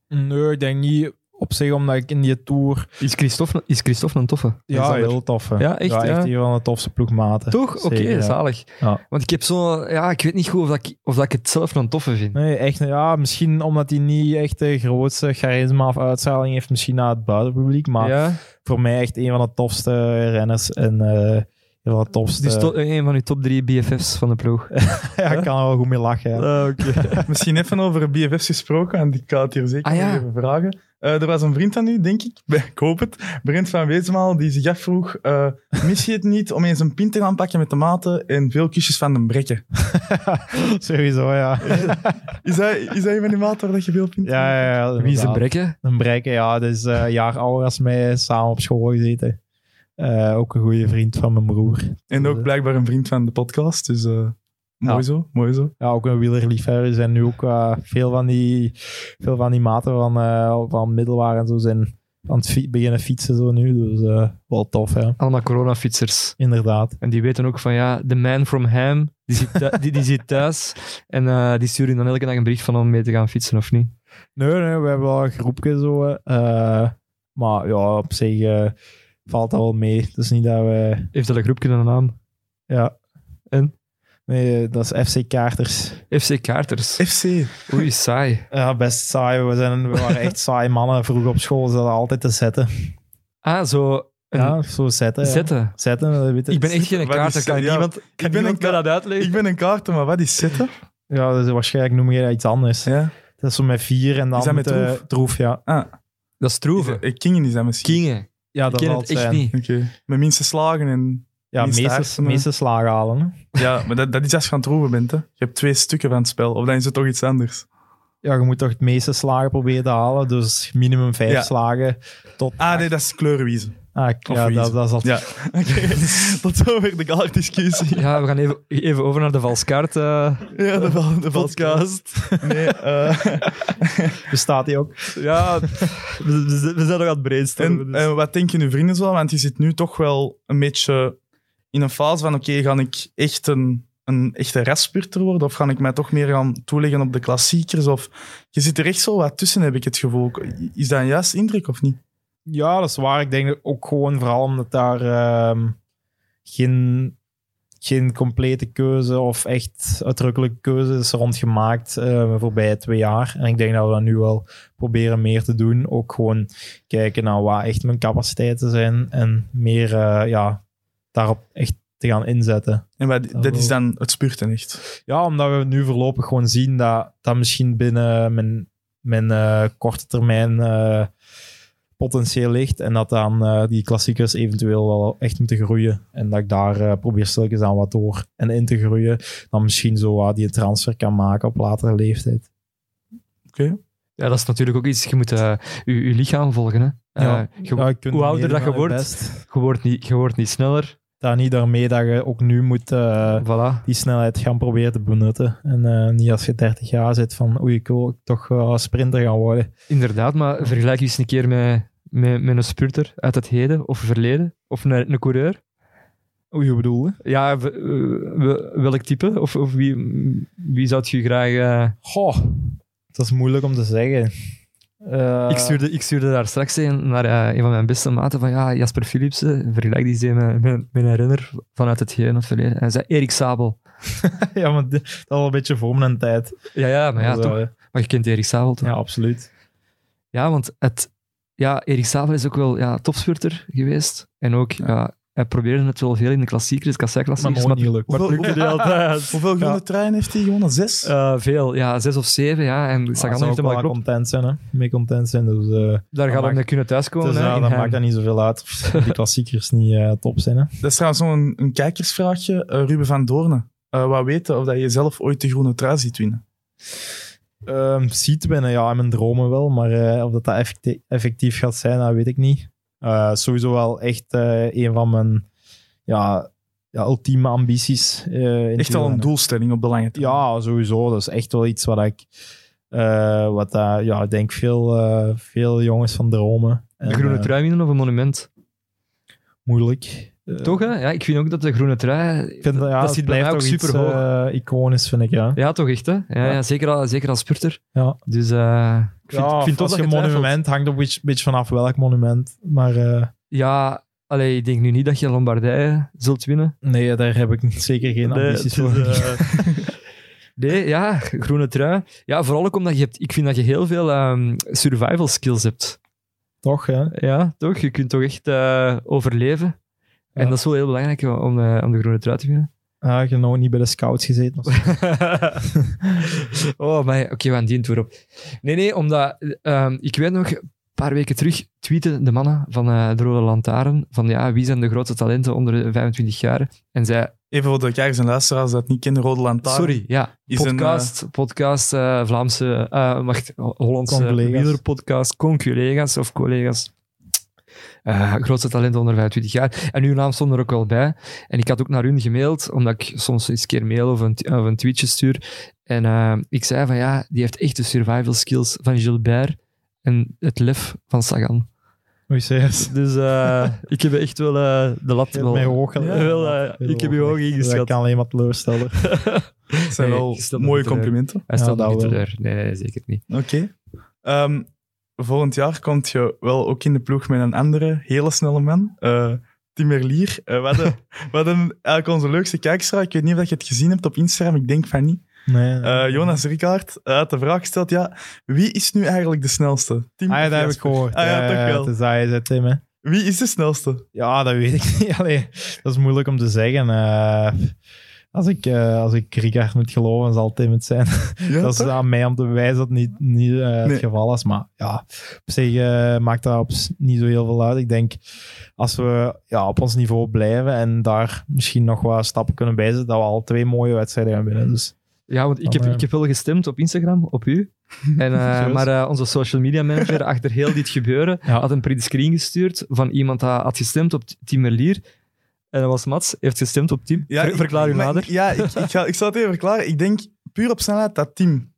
F: Nee, ik denk niet op zich, omdat ik in die tour...
E: Is Christophe, is Christophe een toffe?
F: Ja,
E: Alexander?
F: heel tof. hè.
E: Ja, echt,
F: Ja,
E: ja.
F: echt een van de tofste ploegmaten.
E: Toch? Oké,
F: Zeker, ja.
E: zalig.
F: Ja.
E: Want ik heb zo... Ja, ik weet niet goed of, dat ik, of dat ik het zelf een toffe vind.
F: Nee, echt. Ja, misschien omdat hij niet echt de grootste charisma of uitstraling heeft, misschien naar het buitenpubliek. Maar
E: ja?
F: voor mij echt een van de tofste renners en eh, een van de topste.
E: Dus to- een van uw top drie BFF's van de ploeg.
F: (laughs) ja, ik kan er wel goed mee lachen.
E: (laughs)
F: ja.
D: Misschien even over BFF's gesproken, en ik kan het hier zeker
E: Ah, ja.
D: nog even vragen. Eh, er was een vriend aan u, denk ik, (laughs) ik hoop het, Brent van Weesmaal, die zich afvroeg, eh, mis je het niet om eens een pint te gaan pakken met de maten en veel kusjes van de brekken?
F: Sowieso, ja.
D: Is dat, is dat een van die maten waar dat je veel pint
F: ja, ja, ja
E: Wie is een
F: inderdaad.
E: brekken?
F: Een brekken, ja. Dus eh, een jaar ouder als mij, samen op school gezeten. Eh, ook een goede vriend van mijn broer.
D: En ook blijkbaar een vriend van de podcast, dus eh, mooi
F: Ja.
D: zo, mooi zo.
F: Ja, ook een wielerliefhebber. Er zijn nu ook eh, veel, van die, veel van die maten van, eh van middelbaar en zo zijn aan het fi- beginnen fietsen zo nu. Dus eh, wel tof, ja.
E: Allemaal coronafietsers.
F: Inderdaad.
E: En die weten ook van ja, de man from Ham, die zit, thu- die, die zit thuis. En eh, die sturen dan elke dag een bericht van om mee te gaan fietsen of niet.
F: Nee, nee, we hebben wel een groepje zo. eh, maar ja, op zich eh, valt dat wel mee. Het is niet dat we...
E: Heeft dat een groepje een naam?
F: Ja.
E: En?
F: Nee, dat is FC Kaarters.
E: FC
D: (laughs)
E: Kaarters.
D: FC,
E: Oei, saai.
F: Ja, best saai. We, zijn, we waren echt saai mannen. Vroeg op school zaten we altijd te zetten.
E: Ah, zo. Een
F: Ja, zo zetten. ja.
E: Zetten.
F: Zetten. weet je.
E: Ik ben echt geen
D: Wat is
E: kaarter, kan
D: zetten? Ja,
E: niemand, kan
D: ben
E: niemand
D: een ka-
E: mij dat uitleggen?
D: ik ben een kaarten, maar wat is zitten?
F: Ja, dus waarschijnlijk noem je dat iets anders.
D: Ja.
F: Dat is zo met vier en dan
D: Is dat met
F: eh,
D: troef?
F: ja.
D: Ah,
E: Dat is
D: is
E: troeven.
D: dat- eh, Kingen is dat misschien.
E: Kingen.
F: Ja,
E: Ik
F: dat
E: ken
F: zal
E: het
F: het
E: echt
F: zijn. eh.
E: niet.
D: Oké, met minste slagen en...
F: Ja,
D: Niet
F: meeste,
D: staarsen, maar-
F: meeste slagen halen. hè.
D: Ja, maar dat, dat is als je aan het roeven bent, hè. Je hebt twee stukken van het spel, of dan is het toch iets anders.
F: Ja, je moet toch het meeste slagen proberen te halen. Dus minimum vijf
D: Ja.
F: slagen tot...
D: Ah, nee, dat is kleurenwiezen.
F: Ah, ik- ja,
D: wie is
F: dat,
D: het?
F: dat is al...
D: Ja, (laughs) oké. Tot zover de kaartdiscussie.
E: Ja, we gaan even, even over naar de valskaart. eh.
D: Ja, de, val, de podcast. Nee, eh,
F: Bestaat die ook?
E: Ja, we, we- we zijn nog aan het brainstormen.
D: en,
E: dus.
D: en wat denken uw vrienden zo? Want je zit nu toch wel een beetje in een fase van: oké, ga ik echt een, een echte raspurter worden? Of ga ik mij toch meer gaan toeleggen op de klassiekers? Of je zit er echt zo wat tussen, heb ik het gevoel. Is dat een juist indruk of niet?
F: Ja, dat is waar. Ik denk ook gewoon vooral omdat daar ehm, geen, geen complete keuze of echt uitdrukkelijke keuze is rondgemaakt eh voorbij twee jaar. En ik denk dat we dat nu wel proberen meer te doen. Ook gewoon kijken naar waar echt mijn capaciteiten zijn en meer eh, ja, daarop echt te gaan inzetten.
D: En wat, dat
F: wel.
D: is dan het spurten echt.
F: Ja, omdat we nu voorlopig gewoon zien dat dat misschien binnen mijn, mijn eh, korte termijn eh, potentieel ligt. En dat dan eh, die klassiekers eventueel wel echt moeten groeien. En dat ik daar eh, probeer stilletjes aan wat door en in te groeien. Dan misschien zo wat die transfer kan maken op latere leeftijd.
E: Ja, dat is natuurlijk ook iets. Je moet eh, je, je lichaam volgen. Hè.
F: Ja.
E: Eh, je,
F: Ja, je kunt
E: hoe ouder
F: meer
E: dat je
F: dan het
E: wordt,
F: best.
E: je wordt, niet, je wordt niet sneller.
F: Daar niet daarmee dat je ook nu moet eh,
E: Voilà.
F: die snelheid gaan proberen te benutten. En eh, niet als je 30 jaar zit van oei, ik wil toch wel sprinter gaan worden.
E: Inderdaad, maar vergelijk je eens een keer met, met, met een spurter uit het heden of verleden. Of een, een coureur.
F: Hoe je bedoelde?
E: Ja, w- eh, w- welk type? Of, of wie, wie zou je graag... eh,
F: Goh, dat is moeilijk om te zeggen. Eh,
E: Ik (laughs) stuurde, ik stuurde daar straks een naar eh, een van mijn beste maten van ja, Jasper Philipsen, vergelijk die eens met, met, met een renner vanuit het gehele verleden. Hij zei Erik Sabel.
F: ja, maar dit- dat is al een beetje voor mijn tijd.
E: Ja, ja, maar ja,
F: Zo,
E: toch.
F: hè.
E: Maar je kent Erik Sabel toch?
F: eh, Ja, absoluut.
E: Ja, want het, ja, Erik Savel is ook wel ja, topspurter geweest. En ook, ja. hij probeerde het wel veel in de klassiekers,
F: Maar
E: kassei-klassiekers.
F: mooi niet gelukt.
D: Hoeveel, hoeveel,
F: (laughs)
D: hoeveel groene trein heeft hij gewonnen? Zes?
E: maar, eh, veel, ja, zes of zeven. Ja, en
F: Daar
E: Sagan
F: zou
E: heeft
F: ik
E: hem
F: wel
E: al klopt.
F: content zijn, hè. Mee content zijn, dus... eh,
E: Daar
F: dat
E: gaat hij
F: maakt-
E: mee kunnen thuiskomen.
F: dus
E: hè,
F: ja,
E: in
F: dat
E: Heim.
F: maakt dan niet zoveel uit. of Die klassiekers niet eh, top zijn, hè.
D: Dat is trouwens nog een, een kijkersvraagje. Eh, Ruben van Doornen. Eh wat weten of dat je zelf ooit de groene trui ziet winnen?
F: Ehm, ziet binnen, ja, in mijn dromen wel. Maar eh, of dat, dat effecti- effectief gaat zijn, dat weet ik niet. Eh, sowieso wel echt eh, een van mijn ja, ja, ultieme ambities. eh, in
D: Echt al een
F: wielrennen.
D: doelstelling op de lange termijn.
F: Ja, sowieso. Dat is echt wel iets wat ik... eh, wat eh, ja, ik denk veel, eh, veel jongens van dromen.
E: Een
F: En,
E: groene
F: eh,
E: trui winnen of een monument.
F: Moeilijk. Eh,
E: Toch, hè? Ja, ik vind ook dat de groene trui...
F: Ik vind, dat- ja,
E: dat
F: het
E: zit bij mij
F: blijft
E: ook
F: toch iets,
E: super hoog.
F: eh, iconisch, vind ik. Ja.
E: Ja, toch echt, hè? Ja, ja.
F: Ja.
E: zeker, al, zeker als spurter.
F: Ja.
E: Dus eh, ik vind,
F: Ja,
E: ik vind toch
F: als
E: dat
F: je
E: je twijfelt.
F: monument hangt op een beetje vanaf welk monument. Maar eh,
E: Ja, allee, ik denk nu niet dat je Lombardije zult winnen.
F: nee, daar heb ik zeker geen
D: Nee,
F: ambities
D: het
F: voor.
D: is, eh,
E: (laughs) Nee, ja, groene trui. Ja, vooral ook omdat je hebt, ik vind dat je heel veel ehm, survival skills hebt.
F: (laughs) Toch, hè?
E: Ja, toch? Je kunt toch echt eh, overleven. En
F: Ja.
E: dat is wel heel belangrijk om, eh, om de groene trui
D: (laughs)
E: te winnen.
F: Ah, je nog niet bij de scouts gezeten. of zo.
E: oh, maar oké, we gaan die toer op. Nee, nee, omdat ehm, ik weet nog, een paar weken terug tweeten de mannen van eh, de Rode Lantaarn van ja, wie zijn de grootste talenten onder de 25 jaar? En zij,
D: Even voor de kijkers en luisteraars dat niet kennen, Rode Lantaarn.
E: sorry, ja,
D: Is een,
E: podcast, podcast eh, Vlaamse, eh wacht, Hollandse
F: Conculega's.
E: wielerpodcast, conculega's of collega's. Eh, grootste talent onder 25 jaar. En uw naam stond er ook wel bij. En ik had ook naar hun gemaild, omdat ik soms eens een keer mail of een, of een tweetje stuur. En eh, ik zei van ja, die heeft echt de survival skills van Gilbert en het lef van Sagan.
F: Oei, serieus.
E: Dus (laughs) ik heb echt wel eh, de lat eh,
F: Je hebt mij hoog gel-
E: hoog
F: Dat kan alleen maar teleurstellen.
D: Dat zijn
E: Nee,
D: wel
E: ik stel me
D: mooie
E: niet teleur.
D: complimenten.
E: Hij
F: Ja,
E: stelt me
F: dat
E: niet
F: wel.
E: teleur. Nee, nee, zeker niet.
D: Oké. Ehm, volgend jaar komt je wel ook in de ploeg met een andere hele snelle man. Eh Timmerlier. Eh we, (laughs) hadden, we hadden eigenlijk onze leukste kijkersvraag. Ik weet niet of dat je het gezien hebt op Instagram. Ik denk van niet.
F: Nee.
D: Eh, Jonas Rickaard eh, had de vraag gesteld, ja, wie is nu eigenlijk de snelste? Tim
F: ah, ja,
D: of
F: dat heb ik
D: Jasper?
F: gehoord.
D: Ah, ja, toch wel.
F: Het is dat je zei, Tim, hè.
D: Wie is de snelste?
F: Ja, dat weet ik (laughs) niet. Allee, dat is moeilijk om te zeggen. Eh, als ik, eh, als ik Ricard moet geloven, zal Tim het zijn. (laughs)
D: Ja,
F: dat is
D: toch?
F: aan mij om te bewijzen dat het niet, niet eh,
D: Nee.
F: het geval is. Maar ja, op zich eh, maakt dat op s- niet zo heel veel uit. Ik denk, als we ja, op ons niveau blijven en daar misschien nog wat stappen kunnen bijzetten, dat we al twee mooie wedstrijden gaan winnen. Dus
E: Ja, want ik heb,
F: Dan, eh,
E: ik heb wel gestemd op Instagram, op
F: (laughs)
E: u. En, eh,
F: Serieus?
E: maar eh, onze social
F: (laughs)
E: media manager achter heel dit gebeuren
F: Ja.
E: had een print screen gestuurd van iemand die had gestemd op Tim Merlier. En dat was Mats, heeft gestemd op Tim. Ver-
D: ik-
E: verklaar u
D: maar-
E: nader.
D: Ja, ik, ik, ga, ik zal het even verklaren. Ik denk puur op snelheid dat Tim,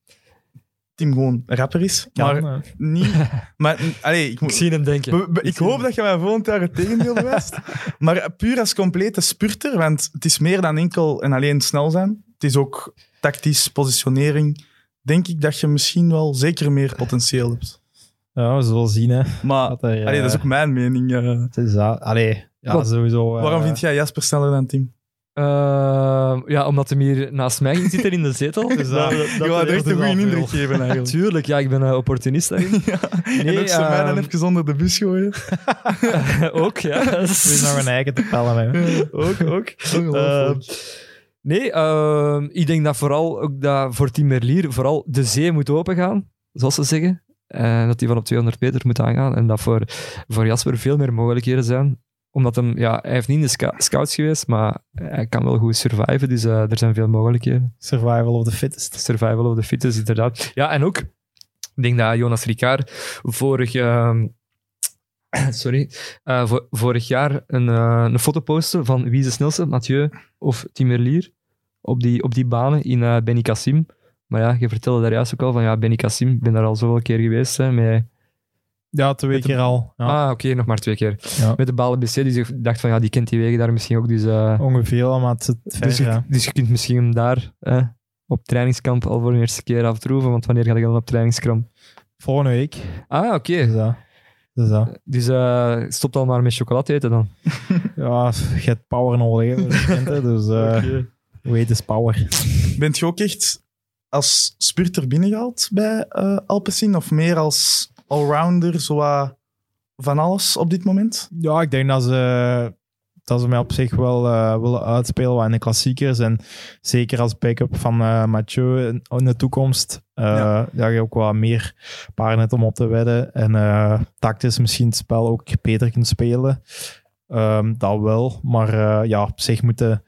D: Tim gewoon rapper is.
F: kan,
D: maar
F: eh.
D: niet... Maar, n- allee, ik,
E: Ik
D: moet-
E: zie hem denken.
D: be- be- ik hoop dat je mij volgend jaar het tegendeel bewijst. maar puur als complete spurter, want het is meer dan enkel en alleen snel zijn. Het is ook tactisch, positionering. Denk ik dat je misschien wel zeker meer potentieel hebt.
F: ja, we zullen zien. Hè,
D: Maar
F: wat er, eh,
D: Ah, Allee, dat is ook mijn mening. eh.
F: het is dat. Allee, ja,
E: Wat?
F: sowieso. eh,
D: Waarom vind jij Jasper sneller dan Tim?
E: Eh, ja, omdat hem hier naast mij ging zitten in de zetel.
D: (laughs)
E: Dus dat, dat,
D: eh, Je wou er echt een goede indruk geven eigenlijk.
E: Tuurlijk, ja, ik ben eh,
D: (laughs)
E: opportunist daarin.
D: en
E: (laughs) Nee,
D: ook ze mij dan
E: ehm,
D: even onder de bus gooien.
E: (laughs) ook,
F: (laughs)
E: ja.
F: Ik weet
E: (laughs)
F: nog een eigen te pellen.
D: (laughs)
F: Hè.
E: ook, ook.
D: Ongelooflijk.
E: Eh, nee, eh, ik denk dat vooral ook dat voor Team Merlier vooral de zee moet opengaan, zoals ze zeggen. En dat die van op 200 meter moet aangaan. En dat voor, voor Jasper veel meer mogelijkheden zijn. Omdat hem, ja, hij heeft niet in de sca- scouts geweest, maar hij kan wel goed surviven. Dus eh, er zijn veel mogelijkheden.
F: Survival of the fittest.
E: Survival of the fittest, inderdaad. Ja, en ook, ik denk dat Jonas Ricard vorig, ehm, (clears throat) sorry, eh, vo- vorig jaar een, eh, een foto postte van wie is de snelste, Mathieu of Timmerlier, op die, op die banen in eh Benny Cassim. Maar ja, je vertelde daar juist ook al van, ja, Benny Cassim, ik ben daar al zoveel keer geweest. Hè, met...
F: Ja, twee keer al. Ja,
E: Ah, oké, nog maar twee keer.
F: Ja.
E: Met de Balen BC, dus ik dacht van, ja, die kent die wegen daar misschien ook. Dus, eh,
D: Ah.
F: Ongeveer, maar het zit ver,
E: dus, je,
F: ja.
E: dus je kunt misschien hem daar eh, op trainingskamp al voor de eerste keer aftroeven, want wanneer ga ik dan op trainingskamp?
F: Volgende week.
E: Ah, oké.
F: Dus dat. Dus dat.
E: Dus eh stop dan maar met chocolade eten dan.
F: Ja, je hebt power nodig, hè, dat is bekend, hè, dus eh
D: (laughs)
F: weet is power.
E: ehm,
D: Bent je ook echt als spurter binnengehaald bij eh Alpecin? Of meer als allrounder, zo wat van alles op dit moment?
F: Ja, ik denk dat ze, dat ze mij op zich wel eh, willen uitspelen wat in de klassiekers. En zeker als backup van eh, Mathieu in, in de toekomst. eh
D: Ja.
F: ja. je ook wel meer paarden hebt om op te wedden. En eh, tactisch misschien het spel ook beter kunt spelen. Ehm, dat wel. Maar eh, ja, op zich moeten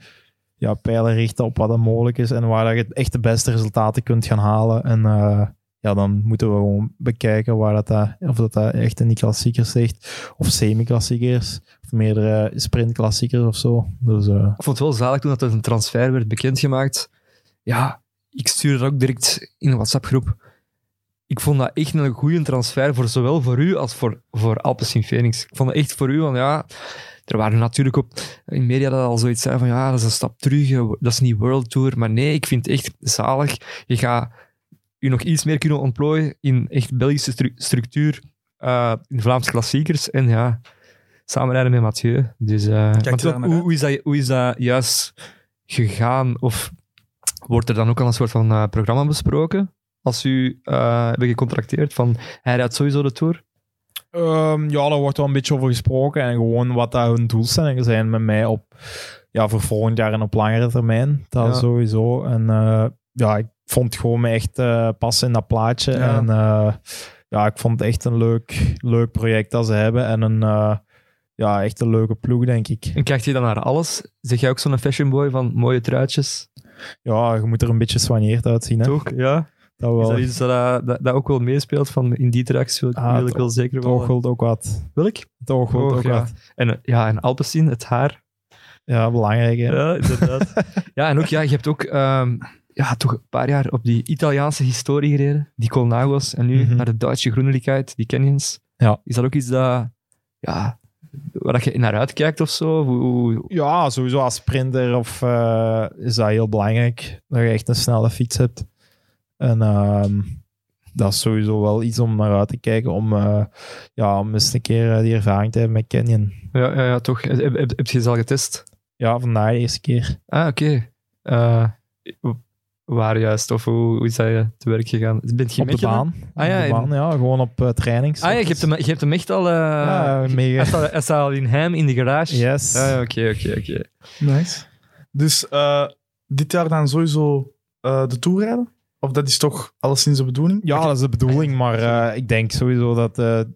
F: ja, pijlen richten op wat er mogelijk is. En waar dat je echt de beste resultaten kunt gaan halen. En eh, ja, dan moeten we gewoon bekijken waar dat, dat, of dat, dat echt in die klassiekers ligt. Of semi-klassiekers. Of meerdere sprintklassiekers of zo. Dus eh,
E: Ik vond het wel zalig toen dat er een transfer werd bekendgemaakt. Ja, ik stuurde dat ook direct in een WhatsApp-groep. Ik vond dat echt een goede transfer, voor zowel voor u als voor, voor Alpecin Phoenix. Ik vond het echt voor u, want ja, er waren natuurlijk op in media dat al zoiets zijn van ja, dat is een stap terug, eh, dat is niet World Tour. Maar nee, ik vind het echt zalig. Je gaat je nog iets meer kunnen ontplooien in echt Belgische stru- structuur, eh, in Vlaamse klassiekers. En ja, samenrijden met Mathieu. Dus, eh,
D: je
E: want
D: daar
E: ook,
D: naar
E: hoe,
D: uit?
E: hoe, is dat, hoe is dat juist gegaan? Of wordt er dan ook al een soort van eh, programma besproken? Als u eh hebben gecontracteerd van hij rijdt sowieso de Tour.
F: Ehm, ja, daar wordt wel een beetje over gesproken. En gewoon wat daar hun doelstellingen zijn met mij op, ja, voor volgend jaar en op langere termijn. Dat
E: Ja.
F: sowieso. En eh, ja, ik vond gewoon me echt eh, passen in dat plaatje.
D: Ja.
F: En eh, ja, ik vond het echt een leuk, leuk project dat ze hebben. En een, eh, ja, echt een leuke ploeg, denk
E: (laughs)
F: ik.
E: En krijgt hij dan naar alles? Zeg jij ook zo'n fashion boy van mooie truitjes?
F: Ja, je moet er een beetje soigneerd uitzien. Hè?
E: Toch? Ja.
F: Dat
E: Is
F: wel.
E: dat iets dat, eh, dat, dat ook wel meespeelt? Van in die tracks wil, ik-
F: Ah,
E: wil ik
F: het
E: wel zeker
F: Het
E: wel.
F: oog wilt ook wat.
E: Welk?
F: Het oog wilt ook
E: ja.
F: wat.
E: En, eh, ja, en Alpecin, het haar.
F: Ja, belangrijk. Hè?
E: Ja, inderdaad. (laughs) ja, en ook, ja, je hebt ook ehm, ja, toch een paar jaar op die Italiaanse historie gereden. Die Colnagos. En nu
F: Mhm.
E: naar de Duitse Groenelikheid, die Canyons.
F: Ja.
E: Is dat ook iets dat, ja, waar dat je naar uitkijkt of zo? Hoe- hoe-
F: Ja, sowieso als sprinter of, eh, is dat heel belangrijk. Dat je echt een snelle fiets hebt. En ehm, dat is sowieso wel iets om naar uit te kijken. Om, eh, ja, om eens een keer eh, die ervaring te hebben met Canyon.
E: ja, ja, ja, toch. Heb, heb, heb je ze al getest?
F: Ja, vandaag de eerste keer.
E: Ah, oké. Eh, waar juist? Of hoe, hoe is dat je te werk gegaan? Bent je
F: op de
E: met je
F: baan.
E: Ah, ja,
F: op de baan, ja. Gewoon op eh, trainings.
E: Ah ja, je hebt hem, je hebt hem echt al... eh,
F: Ja, mega.
E: Hij staat- hij staat al in hem, in de garage.
F: Yes.
E: Ah, ja, oké, oké, oké.
D: Nice. Dus eh, dit jaar dan sowieso eh, de Tour rijden? Of dat is toch alleszins de bedoeling?
F: Ja, dat is de bedoeling. Maar eh, ik denk sowieso dat de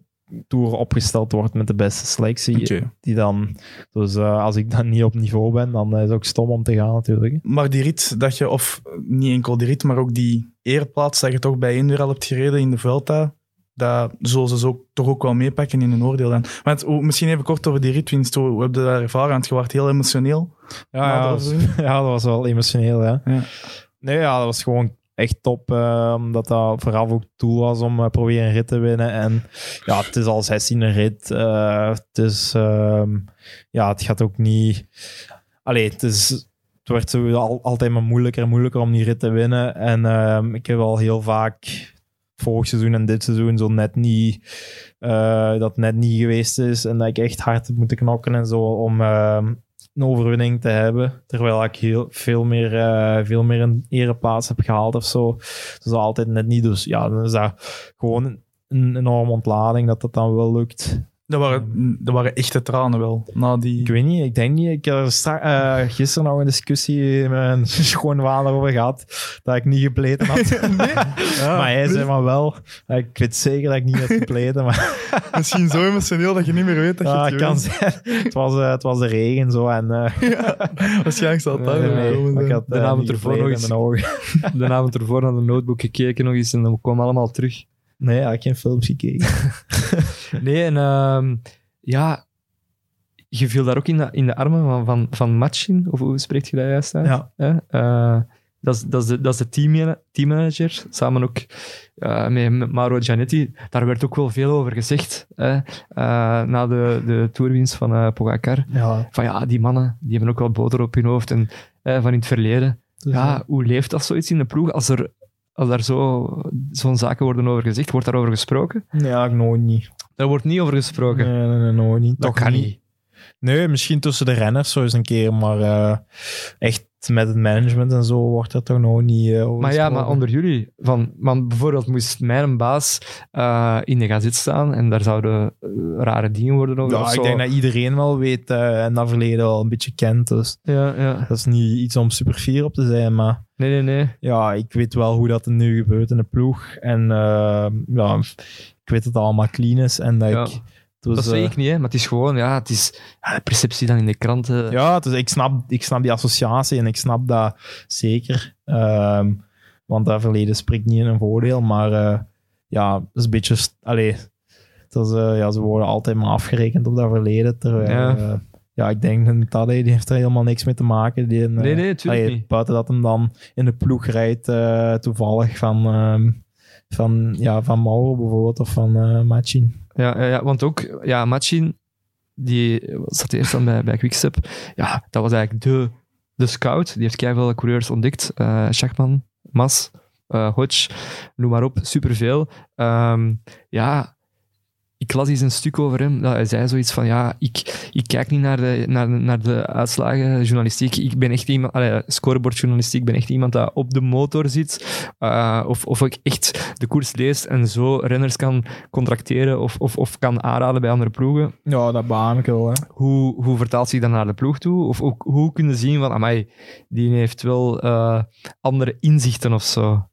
F: Tour opgesteld wordt met de beste selectie.
D: Oké.
F: Die dan, dus eh, als ik dan niet op niveau ben, dan is het ook stom om te gaan natuurlijk. hè.
D: Maar die rit dat je, of niet enkel die rit, maar ook die ereplaats dat je toch bij Indoor al hebt gereden in de Vuelta, dat zullen ze zo- toch ook wel meepakken in hun oordeel. Dan. Want hoe- misschien even kort over die ritwinst. Hoe hoe heb je dat ervaren? Want je werd heel emotioneel.
F: Ja,
D: na de
F: ja,
D: overwinning.
F: (laughs) Ja, dat was wel emotioneel, ja.
D: Ja.
F: Nee, ja, dat was gewoon echt top, eh, omdat dat vooral ook het doel was om eh, proberen een rit te winnen. En ja, het is al 16e rit. eh, het is, ehm, ja, het gaat ook niet... Allee, het is... Het werd sowieso al, altijd maar moeilijker en moeilijker om die rit te winnen. En ehm, ik heb al heel vaak vorig seizoen en dit seizoen zo net niet... eh, dat het net niet geweest is. En dat ik echt hard heb moeten knokken en zo om... ehm, een overwinning te hebben. Terwijl ik heel, veel, meer, eh, veel meer een ereplaats heb gehaald of zo. Dus dat altijd net niet. Dus ja, dan is dat gewoon een enorme ontlading dat dat dan wel lukt.
D: Dat waren, dat waren echte tranen wel. Na die...
F: Ik weet niet, ik denk niet. Ik heb er stra- eh, gisteren nog een discussie met mijn (laughs) schoonvader over gehad. Dat ik niet gepleten had.
E: (laughs)
F: (laughs) maar hij zei maar wel. eh, Ik weet zeker dat ik niet heb gepleten.
E: (laughs)
F: Maar
D: Misschien zo emotioneel dat je niet meer weet dat je
F: ja,
D: het
F: het
D: gewend
F: kan zijn. Het was, eh, het was de regen zo. En, eh,
D: bent. Waarschijnlijk zal het
F: (laughs)
D: daar
E: Nee,
D: wel
E: nee,
D: komen
F: ik
D: zijn.
F: had
E: De
F: eh,
E: avond
F: niet
E: ervoor
F: gepleten
E: nog
F: in
E: eens.
F: mijn ogen. (laughs)
E: De avond ervoor naar de notebook gekeken nog eens en dan kwam allemaal terug.
F: Nee, ja, ik heb geen films gekeken.
E: Nee, en ehm, ja, je viel daar ook in de, in de armen van, van, van Matchin, of hoe spreekt je dat juist uit?
F: Ja.
E: Hè? Eh, dat, is, dat, is de, dat is de teammana- teammanager, samen ook eh, met, met Mauro Gianetti. Daar werd ook wel veel over gezegd, hè? Eh, na de, de toerwinst van eh Pogacar.
F: Ja,
E: Van ja, die mannen, die hebben ook wel boter op hun hoofd en, eh, van in het verleden.
F: dus,
E: Ja, hoe leeft dat zoiets in de ploeg als er, als daar zo- zo'n zaken worden over gezegd, wordt daarover gesproken?
F: Ja, ik nooit niet.
E: Daar wordt niet over gesproken.
F: Nee, nee, nee, nooit niet.
E: Dat
F: Toch
E: kan niet.
F: Nee, misschien tussen de renners zo eens een keer, maar eh, echt met het management en zo wordt er toch nog niet eh, over
E: Maar ja,
F: gesproken.
E: maar onder jullie. Van, man, bijvoorbeeld moest mijn baas eh, in de gazet staan en daar zouden eh, rare dingen worden over.
F: Ja,
E: of zo.
F: ik denk dat iedereen wel weet eh, en dat verleden wel een beetje kent, dus
E: ja, ja.
F: dat is niet iets om super fier op te zijn, maar...
E: Nee, nee, nee.
F: ja, ik weet wel hoe dat er nu gebeurt in de ploeg. En eh, ja, ik weet dat het allemaal clean is. En dat
E: Ja.
F: ik... Het was,
E: dat
F: eh,
E: zeg ik niet, hè. maar het is gewoon, ja, het is ja, de perceptie dan in de kranten.
F: Ja, dus ik snap, ik snap die associatie en ik snap dat zeker. Ehm, want dat verleden spreekt niet in een voordeel. Maar eh, ja, het is een beetje... st- Allee, het is, eh, ja, ze worden altijd maar afgerekend op dat verleden. Terwijl,
E: Ja.
F: ja. ja, ik denk dat Tadej, die heeft er helemaal niks mee te maken. Die, een, eh,
E: Nee, nee, tuurlijk
F: Allee,
E: niet.
F: Buiten dat hem dan in de ploeg rijdt, eh, toevallig van, ehm, van, ja, van Mauro bijvoorbeeld of van eh Machin.
E: Ja, ja, ja, want ook, ja, Machin, die zat eerst dan bij, bij Quickstep. Ja, dat was eigenlijk de, de scout. Die heeft keihard coureurs ontdekt. Eh Schachman, Mas, eh Hodge, noem maar op, superveel. Ehm, ja, ik las eens een stuk over hem. Dat hij zei zoiets van, ja, ik, ik kijk niet naar de, naar, de- naar de uitslagen journalistiek. Ik ben echt iemand, allee, scorebord journalistiek, ik ben echt iemand dat op de motor zit. Eh, of, of ik echt de koers lees en zo renners kan contracteren of, of, of kan aanraden bij andere ploegen.
F: Ja, dat baam ik wel. Hè.
E: Hoe, hoe vertaalt zich dat naar de ploeg toe? Of ook, hoe kunnen zien van, amai, die heeft wel eh, andere inzichten of zo.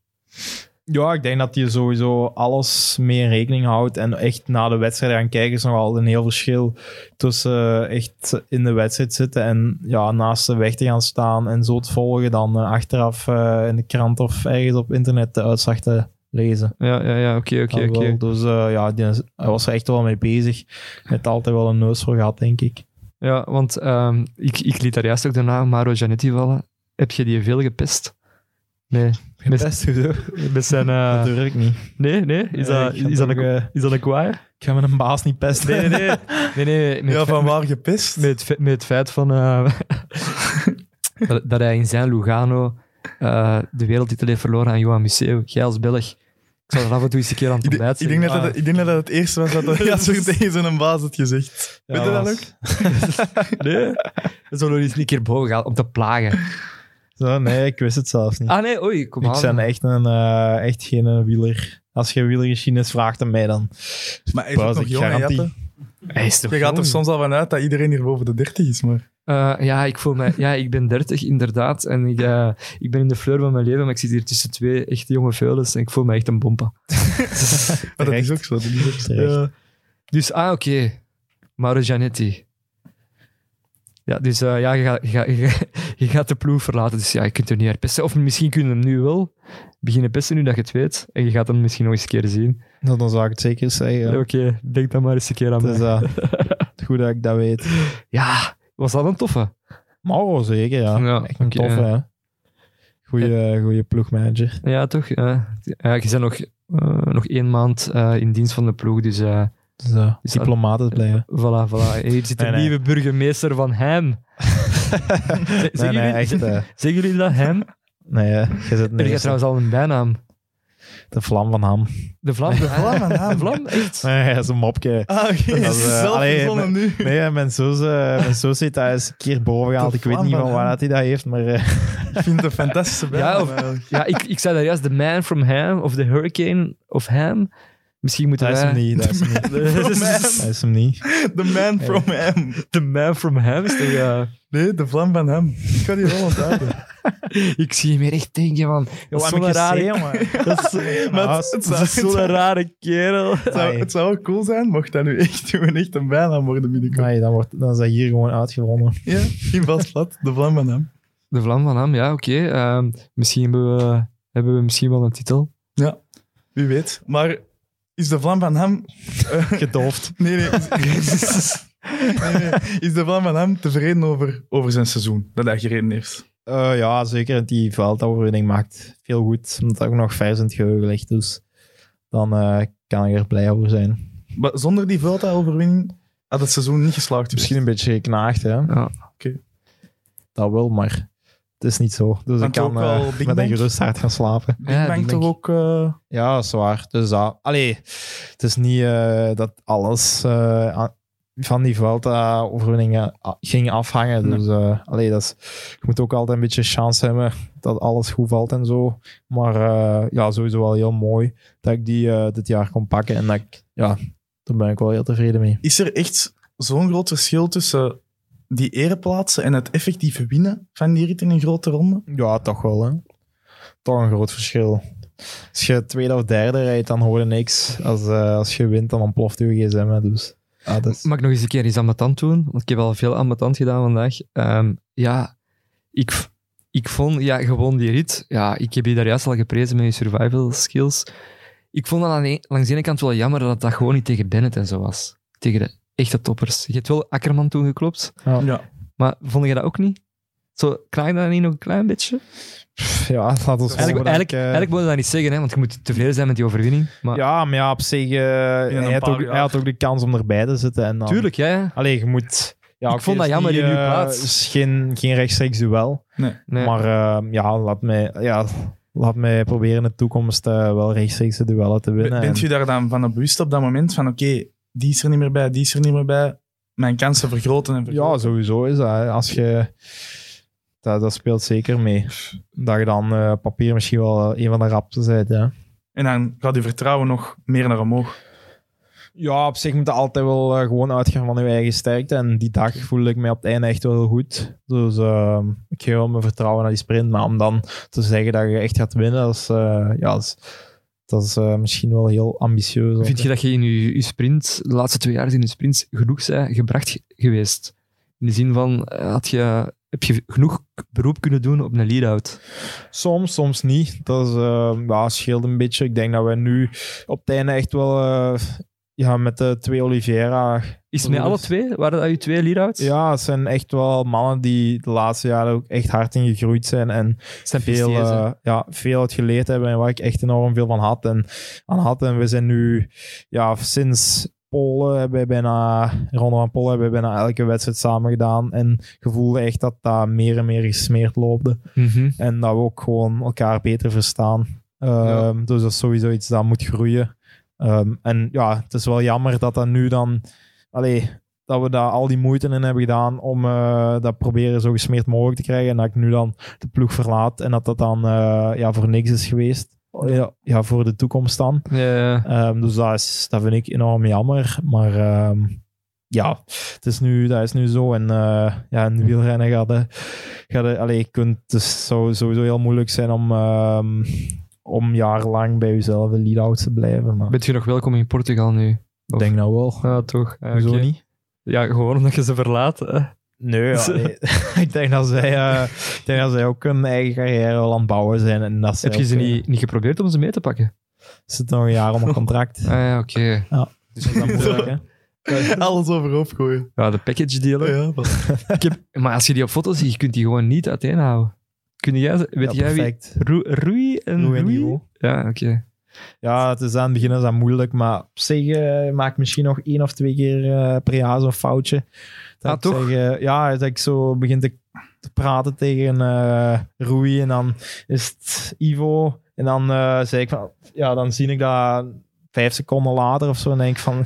F: Ja, ik denk dat hij sowieso alles mee in rekening houdt. En echt na de wedstrijd gaan kijken is nogal een heel verschil tussen eh, echt in de wedstrijd zitten en ja, naast de weg te gaan staan en zo te volgen dan eh, achteraf eh, in de krant of ergens op internet de uitslag te lezen.
E: Ja, ja, ja, oké, oké,
F: Dat wel.
E: oké.
F: Dus eh, ja, die is- hij was er echt wel mee bezig. Hij heeft altijd wel een neus voor gehad, denk ik.
E: Ja, want ehm, ik, ik liet daar juist ook de naam Maro Gianetti vallen. Heb je die veel gepest? Nee.
F: Best goed, hoor.
E: Met zijn... eh,
F: Natuurlijk niet.
E: nee, nee? Is dat,
F: Eh, ik ga
E: is dat,
F: toch,
E: een,
F: eh,
E: is dat een kwaai?
F: ik ga mijn baas niet pesten.
E: Nee, nee, nee. nee, nee met,
D: Ja,
E: het fe-
D: van waar gepist?
E: met, het fe- met het feit van... eh, (laughs) dat, dat hij in zijn Lugano eh, de wereldtitel heeft verloren aan Johan Museeuw. Jij als Belg. Ik zal er af en toe eens een keer aan het
D: Ik, de-
E: ontbijt Ah,
D: ik denk dat
E: zeggen.
D: dat, ik denk dat dat het
F: (laughs)
D: eerste was dat dat ja, zo tegen zo'n baas het gezegd.
F: Ja,
D: Weet je dat
F: was-
D: ook?
E: Nee. We zullen er eens een keer boven gaan om te plagen.
F: Zo, nee, ik wist het zelfs niet.
E: Ah nee, oei, kom aan.
F: Ik ben echt, een, eh, echt geen eh, wieler. Als je wielergeschiedenis vraagt aan mij, dan
D: Maar hij is ook
F: pauze
D: nog
F: ik
D: jong, hè,
F: garantie.
D: Jappe?
E: Hij is toch
D: Je gaat er
E: jong?
D: soms al van uit dat iedereen hier boven de 30 is, maar...
E: Eh, ja, ik voel mij, ja, ik ben 30 inderdaad. En ik, eh, ik ben in de fleur van mijn leven, maar ik zit hier tussen twee echt jonge veulens en ik voel me echt een
D: (laughs)
E: bompa.
D: Maar dat is ook zo. Dat is ook
F: Terecht.
D: zo. Ja.
E: Dus, ah, oké. Mauro Gianetti. Ja, dus eh, ja, je, gaat, (laughs) je, gaat, je, gaat- je gaat de ploeg verlaten, dus ja, je kunt er niet herpesten. Of misschien kun je hem nu wel beginnen pesten, nu dat je het weet. En je gaat hem misschien nog eens een keer zien.
F: Nou, dan, dan zou ik het zeker zeggen.
E: Oké, denk dan maar eens een keer aan
F: Het is
E: mij.
F: eh, het goed dat ik dat weet.
E: Ja, was dat een toffe?
F: Mauro zeker, ja.
E: Ja,
F: echt een
E: oké,
F: toffe, hè. Goeie, eh, goeie ploegmanager.
E: Ja, toch? Ja, Ja, je bent nog, eh, nog één maand eh, in dienst van de ploeg, dus... eh,
F: Dus, eh,
E: Is dat-
F: diplomaat het blijven.
D: (laughs)
E: Voilà, voilà. Hier zit
F: (laughs)
E: de
F: Nee, nee.
E: nieuwe burgemeester van hem. zeggen,
F: Nee, nee,
E: jullie,
F: echt. eh,
E: zeggen jullie dat hem?
F: nee, eh, je zit
E: Er gaat
F: nergens.
E: trouwens al een bijnaam.
F: De vlam van ham.
E: De vlam. De vlam, de vlam echt.
F: Nee, dat is een mopje.
D: Ah, oké.
F: Dat is, eh,
D: (laughs) zelf
F: allee,
D: verzonnen nu.
F: Nee, eh, mijn zus, eh, mijn zus heeft dat eens een keer boven gehaald.
D: De
F: Ik weet
D: vlam
F: niet
D: van
F: van waar
D: Ham.
F: dat hij dat heeft, maar... eh,
D: Ik vind het een fantastische bijnaam
E: Ja, of-
D: (laughs) eigenlijk.
E: Ja, ik, ik zei daar juist de man from ham, of de hurricane of ham. Misschien moeten
F: dat is
E: wij...
F: hem niet, dat is hem (laughs) niet.
D: From
F: Dat
D: Ham.
F: is hem niet.
D: The man from Ham.
E: De man from ham is toch... eh,
D: Nee, de vlam van hem. Ik ga die wel onthouden.
E: (laughs) ik zie hem hier echt denken van... Dat is zo'n rare,
F: (laughs) Dat
D: Maar
F: is
D: het, het
E: dat
D: zou,
E: is
D: het,
E: zo'n
D: zou,
E: rare kerel.
D: het (laughs) zou- het zou wel cool zijn mocht dat nu echt, (laughs) gewoon echt een bijnaam worden binnenkort.
F: Nee, dan, wordt, dan is dat hier gewoon uitgevonden.
D: Ja, in vast plat. De vlam van hem.
E: De vlam van hem, ja, oké. Ehm, misschien hebben we, hebben we misschien wel een titel.
D: Wie weet. Maar is de vlam van hem... (laughs) eh,
F: Gedoofd.
D: nee, nee, (laughs) is, nee, nee. Is de vlam van hem tevreden over, over zijn seizoen? Dat hij gereden heeft.
F: Eh, ja, zeker. dat Die veldoverwinning maakt veel goed. Omdat dat ook nog vers in het geheugen ligt. Dus dan eh, kan ik er blij over zijn.
D: Maar zonder die Vuelta-overwinning had het seizoen niet geslaagd. geweest.
F: Misschien een beetje geknaagd, hè.
E: Ja.
D: Oké.
F: Dat wel, maar Het is niet zo. Dus
D: Want
F: ik kan
D: ook wel
F: eh,
D: Big
F: met een
D: Bang?
F: gerust hart gaan slapen.
D: Big
E: Ja,
D: Bang
E: die
D: toch ook...
E: denk
D: eh,
F: Ja, zwaar. Dus dat. Allee, het is niet eh, dat alles eh, a- van die Vuelta-overwinningen a- ging afhangen. Dus eh, allee, dat is, je moet ook altijd een beetje chance hebben dat alles goed valt en zo. Maar eh, ja, sowieso wel heel mooi dat ik die eh, dit jaar kon pakken. En dat ik, ja, daar ben ik wel heel tevreden mee.
D: Is er echt zo'n groot verschil tussen die ereplaatsen en het effectief winnen van die rit in een grote ronde?
F: Ja, toch wel, hè. Toch een groot verschil. Als je tweede of derde rijdt, dan hoor je niks. Als, eh, als je wint, dan ontploft je gsm, hè, dus... Ja, dat is...
E: Mag ik nog eens een keer iets ambetant doen? Want ik heb al veel ambetant gedaan vandaag. Ehm, ja, ik, ik vond ja, gewoon die rit. Ja, ik heb je daar juist al geprezen met je survival skills. Ik vond dat aan de- langs de ene kant wel jammer dat dat gewoon niet tegen Bennett en zo was. Tegen de echte toppers. Je hebt wel Akkerman toen geklopt,
D: Ja.
E: maar vond je dat ook niet? Zo, kraai dat niet nog een klein beetje?
F: Pff, Ja, laat ons
E: Eigenlijk,
F: hopen dat ik,
E: eigenlijk,
F: eh,
E: eigenlijk moet je dat niet zeggen, hè, want je moet tevreden zijn met die overwinning. Maar
F: Ja, maar ja, op zich... eh,
D: een
F: hij, had
D: paar
F: ook,
D: jaar.
F: hij had ook de kans om erbij te zitten. En dan,
E: tuurlijk, ja. ja.
F: Allee, je moet... Ja,
E: Ik
F: oké,
E: vond dat
F: is
E: jammer
F: niet,
E: in uw
F: eh,
E: plaats.
F: is geen, geen rechtstreeks duel.
E: Nee.
F: Maar eh, ja, laat mij... Ja, Laat mij proberen in de toekomst eh, wel rechtstreeks de duellen te winnen.
D: Bent
F: En-
D: je daar dan van bewust op dat moment van oké, die is er niet meer bij, die is er niet meer bij, mijn kansen vergroten en vergroten?
F: Ja, sowieso is dat. hè. Als je, dat, dat speelt zeker mee. Dat je dan eh, op papier misschien wel eh, een van de rapste bent. Ja.
D: En dan gaat je vertrouwen nog meer naar omhoog.
F: ja, op zich moet je altijd wel eh, gewoon uitgaan van je eigen sterkte. En die dag voelde ik mij op het einde echt wel heel goed. Dus eh, ik geef wel mijn vertrouwen naar die sprint. Maar om dan te zeggen dat je echt gaat winnen, dat is, eh, ja, dat is, dat is eh, misschien wel heel ambitieus.
E: Vind je dat je in je, je sprint, de laatste twee jaar in je sprint, genoeg zijn gebracht ge- geweest? In de zin van, eh, had je, heb je genoeg k- beroep kunnen doen op een lead-out?
F: Soms, soms niet. Dat is, eh, ja, scheelt een beetje. Ik denk dat we nu op het einde echt wel eh, ja, met de twee Oliveira
E: Is het met alle twee? Waren dat je twee lead-outs?
F: Ja, het zijn echt wel mannen die de laatste jaren ook echt hard in gegroeid zijn. En
E: Het zijn
F: veel,
E: PC's, hè.
F: eh, ja, veel uit geleerd hebben. En waar ik echt enorm veel van had. En, aan had. en we zijn nu, ja, sinds Polen hebben we bijna, Ronde van Polen hebben we bijna elke wedstrijd samen gedaan. En gevoelde echt dat dat meer en meer gesmeerd loopde.
E: Mhm.
F: En dat we ook gewoon elkaar beter verstaan. Ehm, Dus dat is sowieso iets dat moet groeien. Ehm, en ja, het is wel jammer dat dat nu dan... Allee, dat we daar al die moeite in hebben gedaan om eh, dat proberen zo gesmeerd mogelijk te krijgen. En dat ik nu dan de ploeg verlaat en dat dat dan eh, ja, voor niks is geweest. Ja, ja, voor de toekomst dan.
E: Ja,
F: Ehm, dus dat, is, dat vind ik enorm jammer. Maar ehm, ja, het is nu, dat is nu zo. En eh, ja,
E: Hm.
F: in de wielrennen gaat het... Gaat het allee, je kunt, het is zou sowieso heel moeilijk zijn om, ehm, om jarenlang bij jezelf de lead-out te blijven. Maar
E: Bent je nog welkom in Portugal nu?
F: ik denk dat wel.
E: Ja, toch. Ah,
F: Zo
E: oké.
F: niet?
E: Ja, gewoon omdat je ze verlaat. hè.
F: Nee, (laughs) ja, nee. ik, denk dat zij, eh, ik denk dat zij ook hun eigen carrière wel aan het bouwen zijn. En dat zij
E: Heb je ze
F: ook, eh,
E: niet, niet geprobeerd om ze mee te pakken?
F: zit nog een jaar onder
E: (laughs)
F: contract.
E: Ah, ja, oké.
F: Dus dat is (laughs) dan moeilijk, hè?
D: Alles overhoop gooien.
E: Ja, de package deal. hè.
D: Ja, wat-
E: Ik heb- Maar als je die op foto ziet, je kunt die gewoon niet uiteenhouden. Kun jij, ze- weet
F: ja,
E: jij wie? Hm?
F: perfect.
E: Roe- Rui en
F: Rui
E: Rui?
F: en Ivo.
E: Ja, oké.
F: Ja, het is aan het begin is dat moeilijk, maar op zich eh, maak ik misschien nog één of twee keer eh, per jaar zo'n foutje. Dat
E: Ah,
F: ik
E: toch?
F: zeg, eh, ja, dat ik zo begin te, te praten tegen eh Rui en dan is het Ivo. En dan eh, zeg ik van, ja, dan zie ik dat vijf seconden later of zo en denk ik van,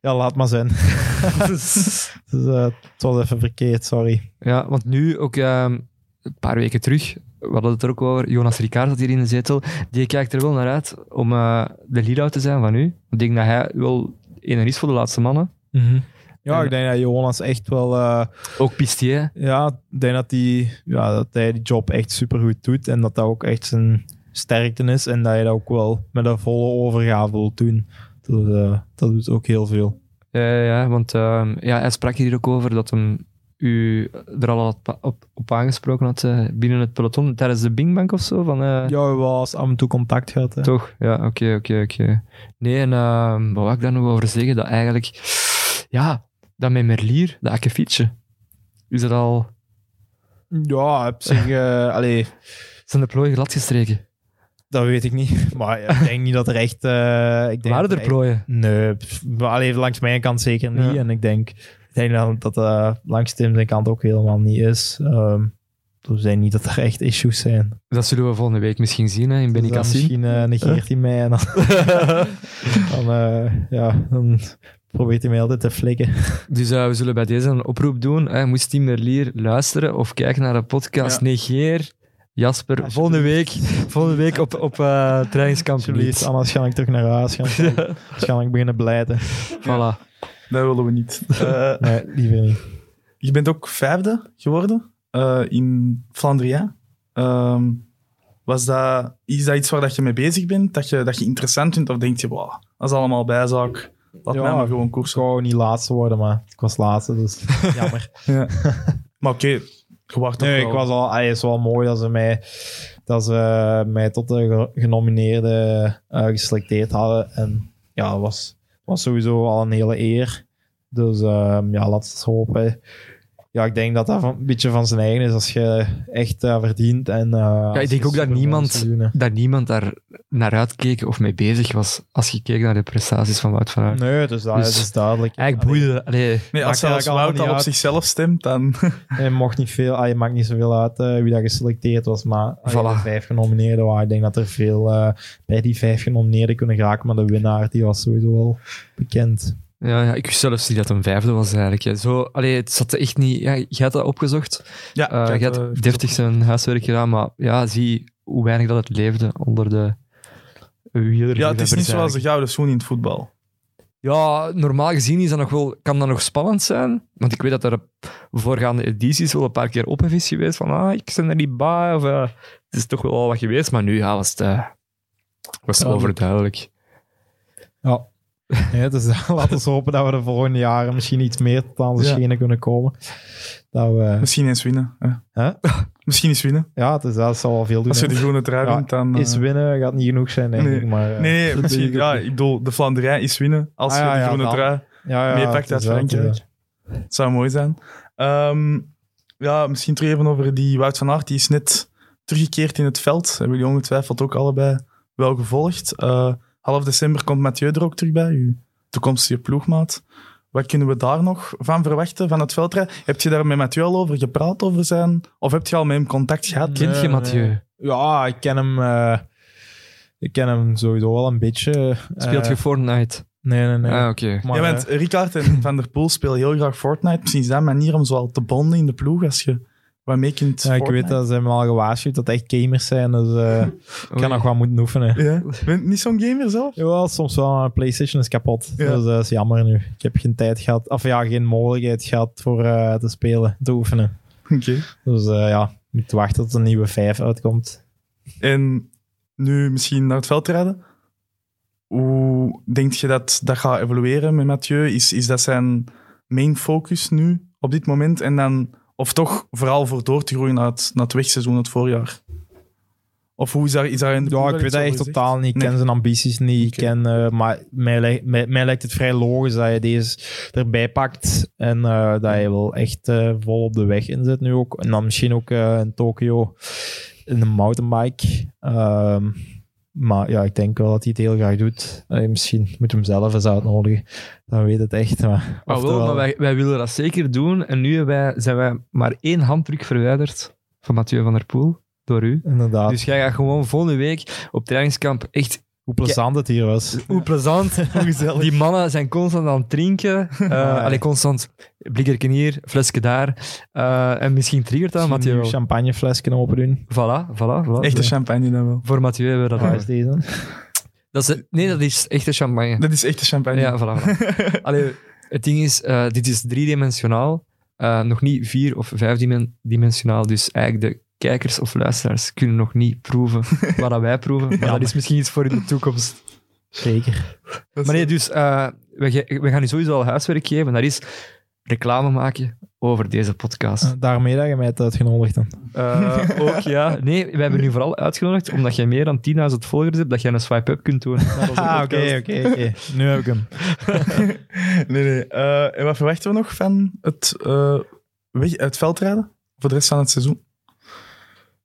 F: ja, laat maar zijn. (laughs) dus eh, het was even verkeerd, sorry.
E: Ja, want nu ook ehm, een paar weken terug, we hadden het er ook over, Jonas Ricard zat hier in de zetel, die kijkt er wel naar uit om eh, de lead-out te zijn van u. Ik denk dat hij wel ene is voor de laatste mannen.
F: Mhm. Ja, ik denk dat Jonas echt wel... eh,
E: Ook Pistier.
F: Ja, ik denk dat, die, ja, dat hij die job echt supergoed doet. En dat dat ook echt zijn sterkte is. En dat hij dat ook wel met een volle overgave wil doen. Dus, eh, dat doet ook heel veel.
E: Ja, ja, want ehm, ja, hij sprak hier ook over dat hem u er al had pa- op, op aangesproken had eh, binnen het peloton, tijdens de Bingbank of zo. Van, eh,
F: Ja, we wel eens af en toe contact gehad. Hè.
E: Toch? Ja, oké, oké, oké. Nee, en ehm, wat wil ik daar nog over zeggen? Dat eigenlijk, ja, dat met Merlier, dat akkefietje, is dat al,
F: Ja, op zich, eh, (laughs) allee,
E: zijn de plooien gladgestreken?
F: dat weet ik niet. (laughs) Maar ja, ik denk niet dat er echt... eh ik denk
E: Waren
F: dat
E: er plooien?
F: echt- Nee, pff, maar allee, langs mijn kant zeker niet.
E: Ja.
F: En ik denk, ik denk dat dat eh, langs Tim zijn kant ook helemaal niet is. Ehm, we zijn niet dat er echt issues zijn.
E: Dat zullen we volgende week misschien zien hè, in Benny
F: dan misschien eh, negeert hij mij en
E: (laughs)
F: dan, dan, eh, ja, dan probeert hij mij altijd te flikken.
E: Dus eh, we zullen bij deze een oproep doen. Hè. Moest Tim Merlier luisteren of kijken naar de podcast, negeer Jasper volgende week, volgende week op, op eh, trainingskamp.
F: Alsjeblieft,
E: Niet.
F: anders ga ik terug naar huis
E: (laughs)
F: gaan. Waarschijnlijk beginnen blijten.
E: Voilà.
D: Dat willen we niet. Eh, (laughs)
F: Nee, liever niet.
D: je bent ook vijfde geworden eh, in Flandria. Ehm, was dat, is dat iets waar dat je mee bezig bent? Dat je, dat je interessant vindt? Of denk je, wow, dat is allemaal bijzaak. Laat
F: Ja.
D: mij maar gewoon
F: Ik
D: koersen.
F: zou niet laatste worden, maar ik was laatste,
E: (laughs)
F: dus jammer.
D: Maar oké, je wacht
F: Nee, ik was al, hij is wel mooi dat ze mij, dat ze eh, mij tot de ge- genomineerde eh, geselecteerd hadden. En ja, dat was, was sowieso al een hele eer. Dus ehm, ja, laten we het hopen. Ja, ik denk dat dat van- een beetje van zijn eigen is als je echt eh, verdient. En, eh, als
E: ik denk
F: je
E: ook dat
F: supergoed
E: niemand-
F: seizoen hebt.
E: Dat niemand daar naar uitkeek of mee bezig was als je keek naar de prestaties van Wout van Aert.
F: Nee, dus dat
E: Dus-
F: is duidelijk.
E: Eigenlijk boeide... Allee,
D: Nee,
F: Maakt
D: als zelfs
F: eigenlijk allemaal
D: Wout
F: niet
D: al op
F: uit.
D: zichzelf stemt, dan... (laughs)
F: Het mocht niet veel, ah, je maakt niet zoveel uit eh, wie dat geselecteerd was, maar ah,
E: Voilà.
F: de vijf genomineerden waren. Ik denk dat er veel eh, bij die vijf genomineerden kunnen geraken, maar de winnaar die was sowieso al bekend.
E: Ja, ja, ik wist zelfs niet dat het een vijfde was eigenlijk. hè. Zo, allee, het zat echt niet... Ja, je had dat opgezocht.
D: Ja,
E: Eh,
D: ik
E: je
D: had, eh,
E: had deftig zijn huiswerk gedaan, maar ja, zie hoe weinig dat het leefde onder de wielers.
D: ja, het is niet zoals de gouden schoen in het voetbal.
E: Ja, normaal gezien is dat nog wel, kan dat nog spannend zijn. Want ik weet dat er voorgaande edities wel een paar keer ophef is geweest. Van, ah, ik ben er niet bij. Of, eh, het is toch wel al wat geweest. Maar nu ja, was het, eh, was het
F: Ja,
D: eh,
E: overduidelijk.
F: Ja. Nee, dus (laughs) laten we hopen dat we de volgende jaren misschien iets meer tot aan de
D: Ja.
F: schenen kunnen komen. Dat we,
D: Misschien eens winnen. hè.
F: hè?
D: (laughs) Misschien eens winnen.
F: Ja, dus dat zal wel veel doen.
D: Als je de
F: hè.
D: groene trui
F: Ja,
D: wint, dan... eh,
F: Is winnen gaat niet genoeg zijn, denk
D: Nee.
F: ik. Maar, eh,
D: Nee, nee, misschien,
F: denk ik
D: ja,
F: ook.
D: ik bedoel, de Flanderij is winnen. Als
F: Ah,
D: je
F: ja,
D: de
F: ja,
D: groene
F: dan.
D: trui
F: ja, ja,
D: meepakt
F: het
D: uit
F: is wel
D: Frankrijk.
F: te-
D: Het zou mooi zijn. Ehm, ja, misschien terug even over die Wout van Aert. Die is net teruggekeerd in het veld. Hebben jullie ongetwijfeld ook allebei wel gevolgd. Eh, half december komt Mathieu er ook terug bij, uw toekomstige ploegmaat. Wat kunnen we daar nog van verwachten, van het veldrijden? Heb je daar met Mathieu al over gepraat, over zijn... Of heb je al met hem contact gehad?
F: Nee.
E: Kent je Mathieu?
D: eh,
F: Ja, ik ken hem. eh, ik ken hem sowieso wel een beetje.
E: Speelt
F: eh,
E: je Fortnite?
F: Nee, nee, nee.
E: Ah, oké.
F: Maar, eh,
D: ja, want Ricard en Van der Poel spelen heel graag Fortnite. Misschien is dat een manier om zo al te bonden in de ploeg, als je wat mee kunt
F: eh, ja, ik
D: Fortnite.
F: weet dat ze hem al gewaarschuwd dat het echt gamers zijn. Dus
D: (laughs)
F: eh, ik
E: Oei.
F: kan nog wat moeten oefenen.
D: Ja. Ben je niet zo'n
F: (laughs)
D: gamer zelf?
F: Jawel, soms wel, maar PlayStation is kapot.
D: Ja.
F: Dus dat is jammer nu. Ik heb geen tijd gehad, of ja, geen mogelijkheid gehad voor eh, te spelen, te oefenen.
D: Oké.
F: Dus eh, ja, moet wachten tot een nieuwe 5 uitkomt.
D: En nu misschien naar het veld rijden. Hoe denk je dat dat gaat evolueren met Mathieu? Is, is dat zijn main focus nu op dit moment? En dan, of toch vooral voor door te groeien naar het, naar het wegseizoen het voorjaar? Of hoe is daar, is daar in de ploeg
F: Ja,
D: al
F: ik
D: iets
F: weet dat echt
D: over gezegd?
F: totaal niet. Ik
D: Nee.
F: ken zijn ambities niet. Ik
D: Oké.
F: ken, eh, maar mij, lijkt- mij, mij lijkt het vrij logisch dat je deze erbij pakt. En eh, dat je wel echt eh, vol op de weg inzet nu ook. En dan misschien ook eh, in Tokio in een mountainbike. Ehm, maar ja, ik denk wel dat hij het heel graag doet. Eh, misschien moet hem zelf eens uitnodigen. Dan weet het echt. Maar,
E: Maar, Ah, wel,
F: oftewel-
E: maar wij, wij willen dat zeker doen. En nu hebben wij, zijn wij maar één handdruk verwijderd van Mathieu van der Poel. Door u.
F: Inderdaad.
E: Dus jij gaat gewoon volgende week op trainingskamp echt
F: hoe plezant het hier was.
E: Hoe plezant. (laughs) Die mannen zijn constant aan het drinken. Eh
F: ja.
E: allee, constant. Blikkerken hier, flesje daar. Eh, en misschien triggert dat
F: Misschien
E: Mathieu
F: een
E: wel.
F: champagneflesje open doen.
E: Voilà, voilà, voilà.
D: Echte champagne dan wel.
E: Voor Mathieu hebben we dat
F: Waar is
E: al.
F: deze?
E: dat is, Nee, dat is echte champagne.
D: Dat is echte champagne. (laughs)
E: Ja, voilà. voilà. Allee, het ding is, eh, dit is driedimensionaal. eh, nog niet vier- of vijfdimensionaal. Dus eigenlijk de kijkers of luisteraars kunnen nog niet proeven wat dat wij proeven. Maar dat is misschien iets voor in de toekomst.
F: Zeker.
D: Dat is-
E: Maar nee, dus eh, we, ge- we gaan u sowieso al huiswerk geven. Dat is reclame maken over deze podcast.
F: Eh, Daarmee dat je mij hebt uitgenodigd dan.
E: Eh, ook, ja. Nee, wij hebben u vooral uitgenodigd omdat jij meer dan 10.000 volgers hebt, dat jij een swipe-up kunt doen.
F: Ah, oké, oké, oké. (laughs) Nu heb ik hem.
D: (laughs) nee, nee. Eh, en wat verwachten we nog van het, eh, weg, het veldrijden voor de rest van het seizoen?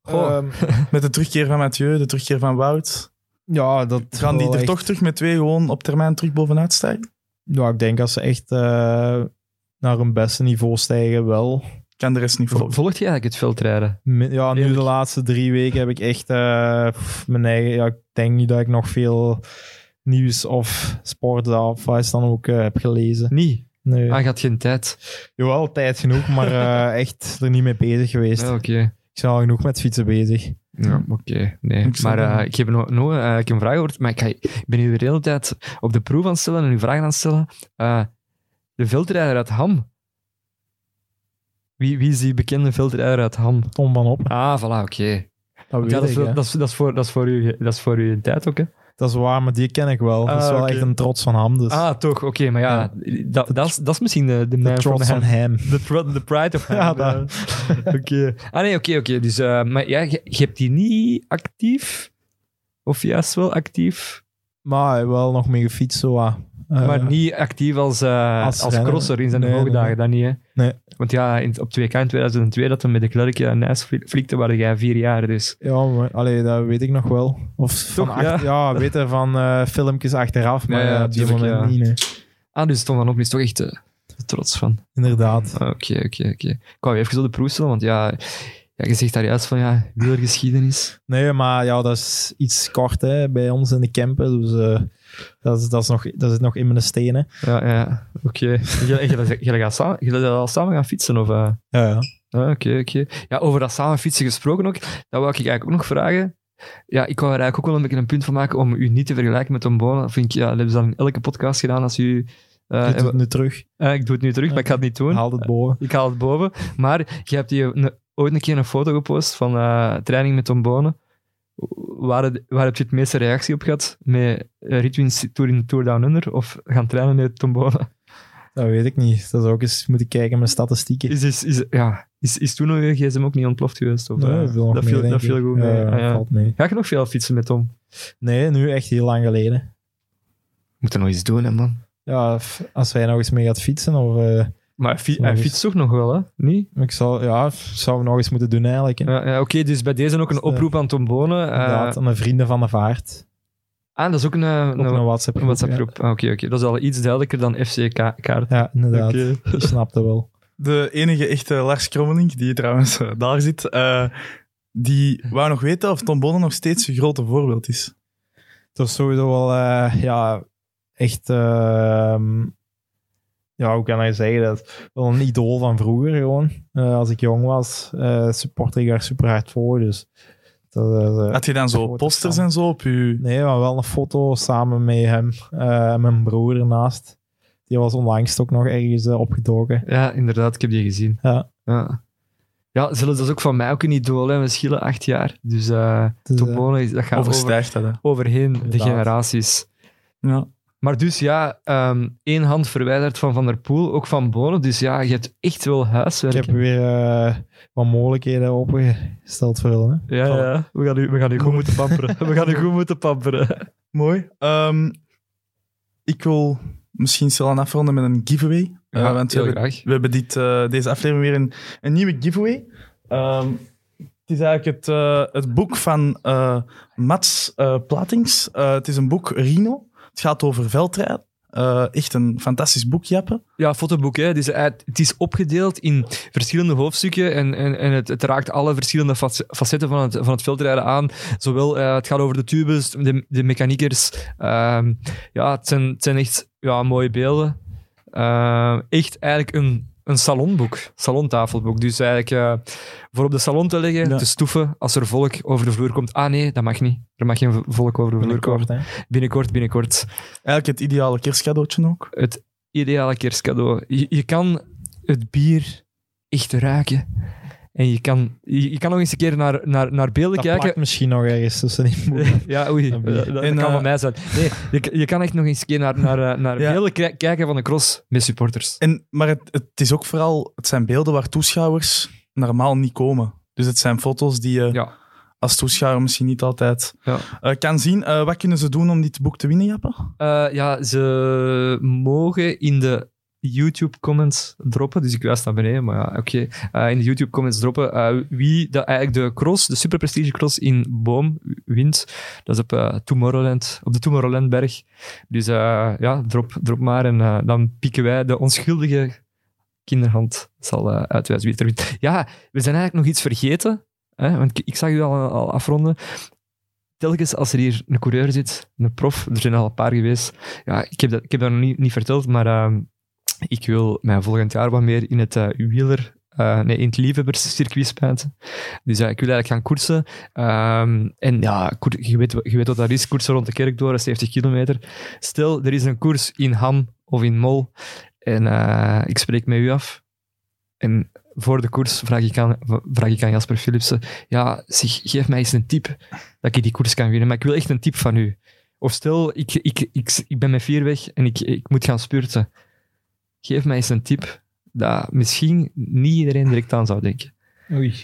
E: Goh.
F: Ehm,
D: Met de terugkeer van Mathieu, de terugkeer van Wout.
F: ja, dat
D: Gaan die
F: wel
E: Oh,
D: er
F: echt-
D: toch terug met twee gewoon op termijn terug bovenuit stijgen?
F: Ja, ik denk als ze echt eh, naar hun beste niveau stijgen, wel.
D: kan de rest niet volgen.
E: Volgt je eigenlijk het veldrijden?
F: Mi- Ja, nu
E: Eerlijk.
F: de laatste drie weken heb ik echt eh, pff, mijn eigen... Ja, ik denk niet dat ik nog veel nieuws of sport of wat is dan ook eh, heb gelezen.
E: Niet.
F: Nee.
E: Ah, je had geen tijd.
F: Jawel, tijd genoeg, maar eh, echt er niet mee bezig geweest.
E: Ja, oké.
F: Ik ben al genoeg met fietsen bezig.
E: Ja, oké. Nee.
D: Ik snap
E: Maar eh,
D: het.
E: ik heb nog, nog, eh, ik heb een vraag gehoord, maar ik, ga, ik ben u de hele tijd op de proef aan het stellen en uw vragen aan het stellen. Eh, de veldrijder uit Ham. Wie, wie is die bekende veldrijder uit Ham?
F: Tom van op.
E: Ah, voilà, oké.
F: Dat weet
E: Ja, dat, is,
F: ik, hè.
E: dat, is, dat, is voor, dat, is voor u, dat is voor uw tijd ook, hè?
F: Dat is waar, maar die ken ik wel. dat is
D: Ah,
F: wel
D: oké.
F: echt een trots van hem. Dus.
E: Ah, toch, oké, maar ja, Dat, dat, is, dat is misschien de, de,
F: de
E: man from
F: trots
E: the
F: van
E: hand.
F: hem.
E: (laughs) De tro- de
F: (laughs)
E: pride of
F: Ja,
E: hand,
F: dat-
E: eh. (laughs) Oké. Ah, nee, oké, oké. Dus, eh, maar ja, je, je hebt die niet actief, of juist wel actief,
F: Maar wel nog mee gefietst, zo wat. Eh,
E: maar niet actief als, eh,
F: als
E: als,
F: renner.
E: crosser in zijn
F: Nee, nee,
E: hoogdagen, dat niet, hè?
F: Nee.
E: Want ja, in, op 2K in 2002, dat we met de klerkje naar Nijs vlie- vliegden, waren jij vier jaar, dus...
F: Ja, maar, allee, dat weet ik nog wel. Of
E: Toch,
F: van acht- ja. weet je, van eh, filmpjes achteraf, maar
E: Ja, ja,
F: ja, op die
E: tuurlijk,
F: moment
E: ja.
F: niet. nee.
E: Ah, dus Tom van Op is toch echt eh, trots van.
F: Inderdaad.
E: Ah, Oké, oké, oké. Ik wou je even op de proef stellen, want ja, ja, je zegt daar juist van, ja, wielergeschiedenis.
F: Nee, maar ja, dat is iets kort hè, bij ons in de campen. Dus eh, dat, is, dat, is nog, dat zit nog in mijn stenen.
E: Ja, ja, oké. Je- je- je- je gaat samen- Je gaat al samen gaan fietsen, of... eh?
F: Ja, ja.
E: Ah, Oké, oké. Ja, over dat samen fietsen gesproken ook, dat wou ik eigenlijk ook nog vragen. Ja, ik wou er eigenlijk ook wel een beetje een punt van maken om u niet te vergelijken met Tom Bona. Dat Vind ik, ja, dat hebben ze dan in elke podcast gedaan als u... eh,
F: Doe het
E: hebben-
F: nu terug.
E: eh, ik doe het nu terug, maar ik ga het niet doen.
F: Haal het boven.
E: Ik haal het boven. Maar je hebt hier een- ooit een keer een foto gepost van eh, training met Tom Bonen. Waar, het- waar heb je het meeste reactie op gehad? Met eh, Ritwin's Tour in Tour Down Under of gaan trainen met Tom Bonen?
F: Dat weet ik niet. Dat zou ook eens moeten kijken met statistieken.
E: Is, is, is, ja, is, is toen nog je gsm ook niet ontploft geweest? Of,
F: Nee,
E: eh,
F: dat viel nog
E: dat
F: mee,
E: viel,
F: denk
E: dat viel
F: ik.
E: goed
F: Ja,
E: mee.
F: ja,
E: Ah, ja.
F: valt mee.
E: Ga je nog veel fietsen met Tom?
F: Nee, nu echt heel lang geleden.
E: Moet er nog iets doen, hè, man.
F: Ja, f- als wij nog eens mee gaat fietsen, of... eh,
E: Maar hij fi-
F: Nog
E: hij
F: eens.
E: fietst toch nog wel, hè? Niet?
F: ik zou, ja, f- zou nog eens moeten doen eigenlijk. hè.
E: Ja, ja, Oké, dus bij deze ook een
F: Dus, eh,
E: oproep aan Tom Bonen. eh,
F: Inderdaad, aan de vrienden van de vaart.
E: ah, dat is ook een, eh,
F: Op een
E: een,
F: WhatsApp
E: een WhatsApp-groep. Ah, Oké, oké. Dat is al iets duidelijker dan FCK-kaart.
F: Ja, Ja, inderdaad.
E: Oké.
F: (laughs) Je snapt het wel.
D: De enige echte Lars Krommeling, die trouwens eh, daar zit, eh, die wou nog weten of Tom Bonne nog steeds een grote voorbeeld is.
F: Het was sowieso wel, eh, ja, echt... ehm, ja, hoe kan ik zeggen dat? Wel een idool van vroeger gewoon. Eh, als ik jong was, eh supportte ik daar super hard voor, dus... Dat, is, eh,
D: Had je dan zo
F: Grote
D: posters
F: fan.
D: en zo op je...
F: Nee, maar wel een foto samen met hem eh, en mijn broer ernaast. Die was onlangs ook nog ergens eh, opgedoken.
E: Ja, inderdaad, ik heb die gezien.
F: Ja.
E: Ja, ja zelfs dat is ook van mij ook een idool. Hè. We schillen acht jaar. Dus eh
F: Dus,
E: Tom
F: eh,
E: Bonen is- dat gaat over,
D: Overstijgt dat, hè?
E: overheen de
F: Inderdaad.
E: generaties.
D: Ja.
E: Maar dus ja, ehm, één hand verwijderd van Van der Poel, ook van Bonen. Dus ja, je hebt echt wel
F: ik
E: huiswerk.
F: heb weer eh, wat mogelijkheden opgesteld voor hen.
E: Ja, ja. We gaan u, we gaan u goed moeten
D: (laughs)
E: pamperen. We gaan u goed moeten pamperen.
D: Mooi. Ehm, ik wil misschien stilaan afronden met een giveaway. Eh,
E: Ja,
D: want we
E: heel
D: hebben,
E: graag.
D: we hebben dit, eh, deze aflevering weer een, een nieuwe giveaway. Ehm, het is eigenlijk het, eh, het boek van eh, Mats eh, Platings. Eh, het is een boek Rino. Het gaat over veldrijden. Eh, echt een fantastisch boek, Jappe.
E: Ja, fotoboek. Hè. Dus het het is opgedeeld in verschillende hoofdstukken en, en, en het, het raakt alle verschillende fac- facetten van het, van het veldrijden aan. Zowel, eh, het gaat over de tubes, de, de mechaniekers. Ehm, ja, het zijn, het zijn echt ja, mooie beelden. Ehm, echt eigenlijk een, een salonboek, salontafelboek. Dus eigenlijk eh, voor op de salon te leggen,
D: Ja.
E: te stoeven, als er volk over de vloer komt. Ah nee, dat mag niet. Er mag geen volk over de vloer
F: Binnenkort,
E: komen.
F: hè.
E: Binnenkort, binnenkort
D: Eigenlijk het ideale kerstcadeautje ook.
E: het ideale kerstcadeau. Je, je kan het bier echt ruiken. En je kan, je, je kan nog eens een keer naar, naar, naar beelden
F: Dat plakt
E: kijken.
F: misschien nog ergens tussen die boeken.
E: (laughs) Ja, oei.
F: Dat
E: Dat,
F: bier.
E: dat- dat
D: En,
E: kan
D: eh,
E: van mij zijn. Nee, je, je kan echt nog eens een keer naar, naar, eh, naar
D: Ja.
E: beelden kri- kijken van de cross met supporters.
D: En, maar het, het is ook vooral... Het zijn beelden waar toeschouwers normaal niet komen. Dus het zijn foto's die je...
E: Ja.
D: als toeschouwer misschien niet altijd
E: Ja.
D: eh, kan zien. Eh, wat kunnen ze doen om dit boek te winnen, Jappe?
E: Eh, ja, ze mogen in de YouTube-comments droppen. Dus ik wijs naar beneden, maar ja, oké. Eh, in de YouTube-comments droppen eh, wie dat eigenlijk de cross, de Super Prestige Cross in Boom wint. Dat is op eh, Tomorrowland, op de Tomorrowlandberg. Dus eh, ja, drop, drop maar en eh, dan pikken wij de onschuldige kinderhand zal eh, uitwijzen wie het er wint. Ja, we zijn eigenlijk nog iets vergeten. Hè? Want ik, ik zag u al, al afronden. Telkens als er hier een coureur zit, een prof, er zijn al een paar geweest. Ja, ik heb dat, ik heb dat nog niet, niet verteld, maar ehm, ik wil mij volgend jaar wat meer in het eh, wieler, eh, nee, in het liefhebberscircuit spuiten. Dus ja, ik wil eigenlijk gaan koersen. Ehm, en ja, koer- je weet, je weet wat dat is, koersen rond de kerktoren, 70 kilometer. Stel, er is een koers in Ham of in Mol en eh, ik spreek met u af. En voor de koers vraag ik aan, vraag ik aan Jasper Philipsen, ja, zeg, geef mij eens een tip dat ik die koers kan winnen, maar ik wil echt een tip van u. Of stel, ik, ik, ik, ik ben met vier weg en ik, ik moet gaan spurten. Geef mij eens een tip dat misschien niet iedereen direct aan zou denken.
F: (laughs) Oei.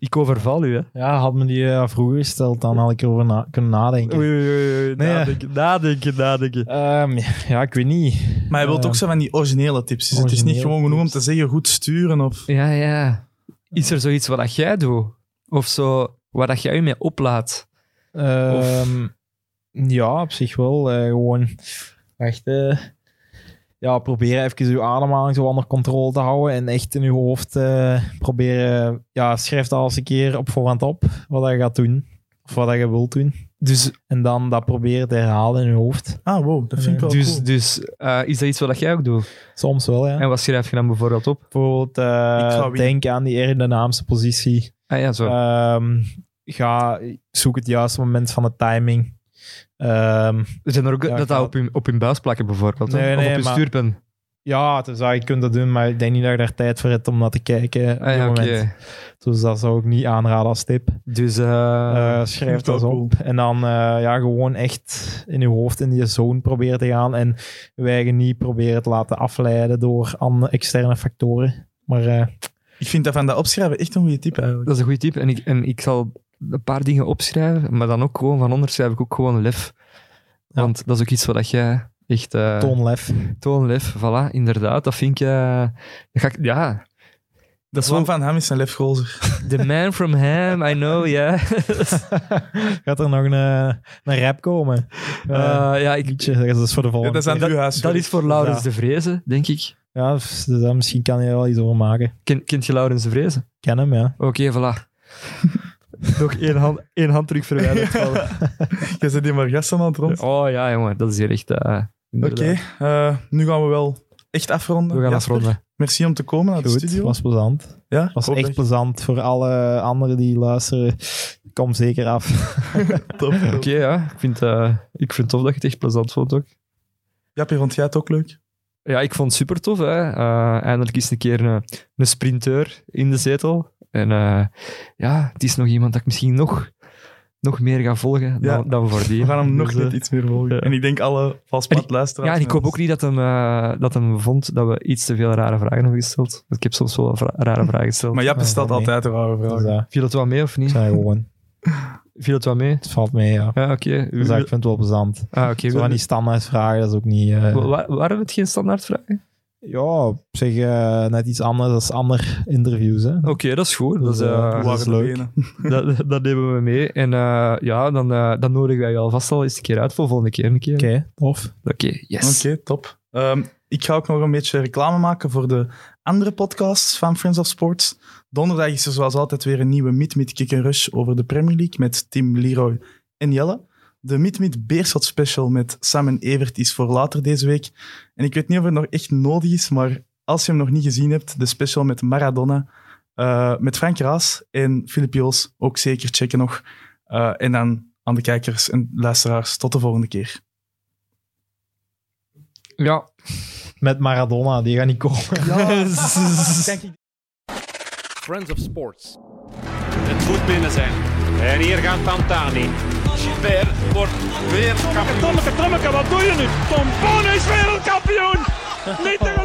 E: Ik overval u, hè?
F: Ja, had me die eh, vroeger gesteld, dan had ik erover na- kunnen nadenken. Nee,
E: nadenken, nadenken, nadenken.
F: Ehm, ja, ik weet niet.
D: Maar hij wil
F: Eh,
D: ook zo van die originele tips. Dus het is
F: originele
D: niet gewoon genoeg om
F: tips.
D: te zeggen goed sturen of...
E: Ja, ja. Is er zoiets wat dat jij doet? Of zo, waar dat jij je mee oplaat?
F: Ehm, Ja, op zich wel. eh, gewoon echt... eh, ja, proberen even uw ademhaling zo onder controle te houden. En echt in uw hoofd eh, proberen... Ja, schrijf dat als een keer op voorhand op. Wat dat je gaat doen. Of wat dat je wilt doen.
E: Dus,
F: En dan dat proberen te herhalen in uw hoofd.
D: Ah, wow, dat vind ik wel
E: dus,
D: cool.
E: dus eh, is dat iets wat dat jij ook doet?
F: Soms wel, ja.
E: En wat schrijf je dan bijvoorbeeld op?
F: Bijvoorbeeld, eh,
D: Ik zou wie-
F: denk aan die aerodynamische positie.
E: Ah ja, zo.
F: Ehm, ga, zoek het juiste moment van de timing. Ehm,
E: er zijn er ook
F: ja,
E: dat
F: ik
E: dat
F: ga-
E: op je, op hun buis plakken bijvoorbeeld. hè?
F: Nee,
E: of
F: nee,
E: op je
F: maar-
E: stuurpen.
F: ja, dus, je kunt dat doen, maar ik denk niet dat je daar tijd voor hebt om naar te kijken. op
E: Ah
F: dit
E: ja, oké.
F: moment. Dus dat zou ik niet aanraden als tip.
E: Dus, eh,
F: Eh, schrijf
D: vind ik
F: dat
D: wel
F: op. En dan eh, ja, gewoon echt in je hoofd in die zone proberen te gaan. En je eigen niet proberen te laten afleiden door andere externe factoren. Maar eh,
D: Ik vind dat van dat opschrijven echt een goede tip eigenlijk.
E: dat is een goede tip. En ik, en ik zal een paar dingen opschrijven, maar dan ook gewoon van onder schrijf ik ook gewoon lef. Want dat is ook iets wat dat jij echt... eh,
F: toon lef.
E: Toonlef, voilà, inderdaad. Dat vind ik... eh, dat ga ik ja,
D: Dat is van Ham is een lefgozer.
E: the man from Ham, I know, yeah.
F: (laughs) Gaat er nog een, eh, een rap komen? Eh,
E: (laughs) Eh, ja, ik,
F: liedje, dat is dus voor de
D: Ja,
F: volgende.
D: dat is aan uw huis.
E: dat is voor Laurens de Vrezen, denk ik.
F: Ja, dus daar misschien kan je er wel iets over maken.
E: Ken, kent je Laurens de Vrezen?
F: Ik ken hem,
D: (laughs)
F: ja.
E: Oké, voilà. Nog één hand, één hand terug verwijderd. vallen.
D: Je zit hier maar gasten aan het rond.
E: (laughs) Oh ja, jongen, dat is hier echt... eh,
D: Oké,
E: inderdaad.
D: eh, nu gaan we wel echt afronden.
E: We gaan
D: Jasper,
E: afronden.
D: Merci om te komen naar de
F: Goed,
D: studio.
F: was plezant.
D: ja,
F: Was
D: hoop
F: echt
D: dat-
F: plezant voor alle anderen die luisteren. Kom zeker af.
D: top.
E: Oké, ja. Ik vind, eh, ik vind het tof dat je het echt plezant vond ook.
D: Jappie, vond jij het ook leuk?
E: Ja, ik vond het super tof. Hè. Eh, eindelijk is een keer een, een sprinteur in de zetel. En eh, ja, het is nog iemand dat ik misschien nog, nog meer ga volgen
D: Ja.
E: dan, dan voordien.
D: We gaan hem nog
E: Dus, eh,
D: net iets meer volgen.
E: ja.
D: En ik denk alle vastpad luisteraars.
E: Ja, en ik hoop ook niet dat hem, eh, dat hem vond dat we iets te veel rare vragen hebben gesteld. Want ik heb soms wel vra- rare vragen gesteld.
D: Maar Jappie
F: Ja,
D: stelt
F: nee.
D: altijd de rare
F: Dus,
D: vragen.
F: eh,
E: Viel het wel mee of
F: het
E: niet?
F: zijn gewoon.
E: Viel het wel mee?
F: Het valt mee, ja.
E: Ja, oké.
F: Dus
E: Wil-
F: ja, ik vind het wel plezant.
E: Ah, oké.
F: Zo
E: Wil-
F: van die standaardvragen, dat is ook niet... eh,
E: Wa- wa- Waren het geen standaardvragen?
F: ja, op zich eh, net iets anders als andere interviews,
D: Oh,
F: hè.
E: Oké, dat is goed. Dat is,
F: Dus, eh,
E: eh,
D: Hoe
F: Dat
D: waren
F: is
D: de
F: leuk.
D: benen?
E: dat, (laughs) dat nemen we mee. En eh, ja, dan, eh, dan nodigen wij je alvast al eens een keer uit voor volgende keer. Een keer.
F: Oké, tof.
E: Oké, yes.
D: Oké, top. Ehm, ik ga ook nog een beetje reclame maken voor de andere podcasts van Friends of Sports. Donderdag is er zoals altijd weer een nieuwe Meet Meet Kick and Rush over de Premier League met Tim Leroy en Jelle. De Meet Meet Beerschot Special met Sam en Evert is voor later deze week. En ik weet niet of het nog echt nodig is, maar als je hem nog niet gezien hebt, de special met Maradona, eh, met Frank Raas en Filip Joos, ook zeker checken nog. Eh, en dan aan de kijkers en luisteraars, tot de volgende keer.
E: Ja.
F: Met Maradona, die gaat niet komen.
D: (laughs)
C: Friends of Sports.
B: Het moet binnen zijn. En hier gaat Tantani.
C: Gilbert wordt weer kampioen.
B: Tommeke, Tommeke, wat doe je nu? Tom Boon is wereldkampioen! Niet te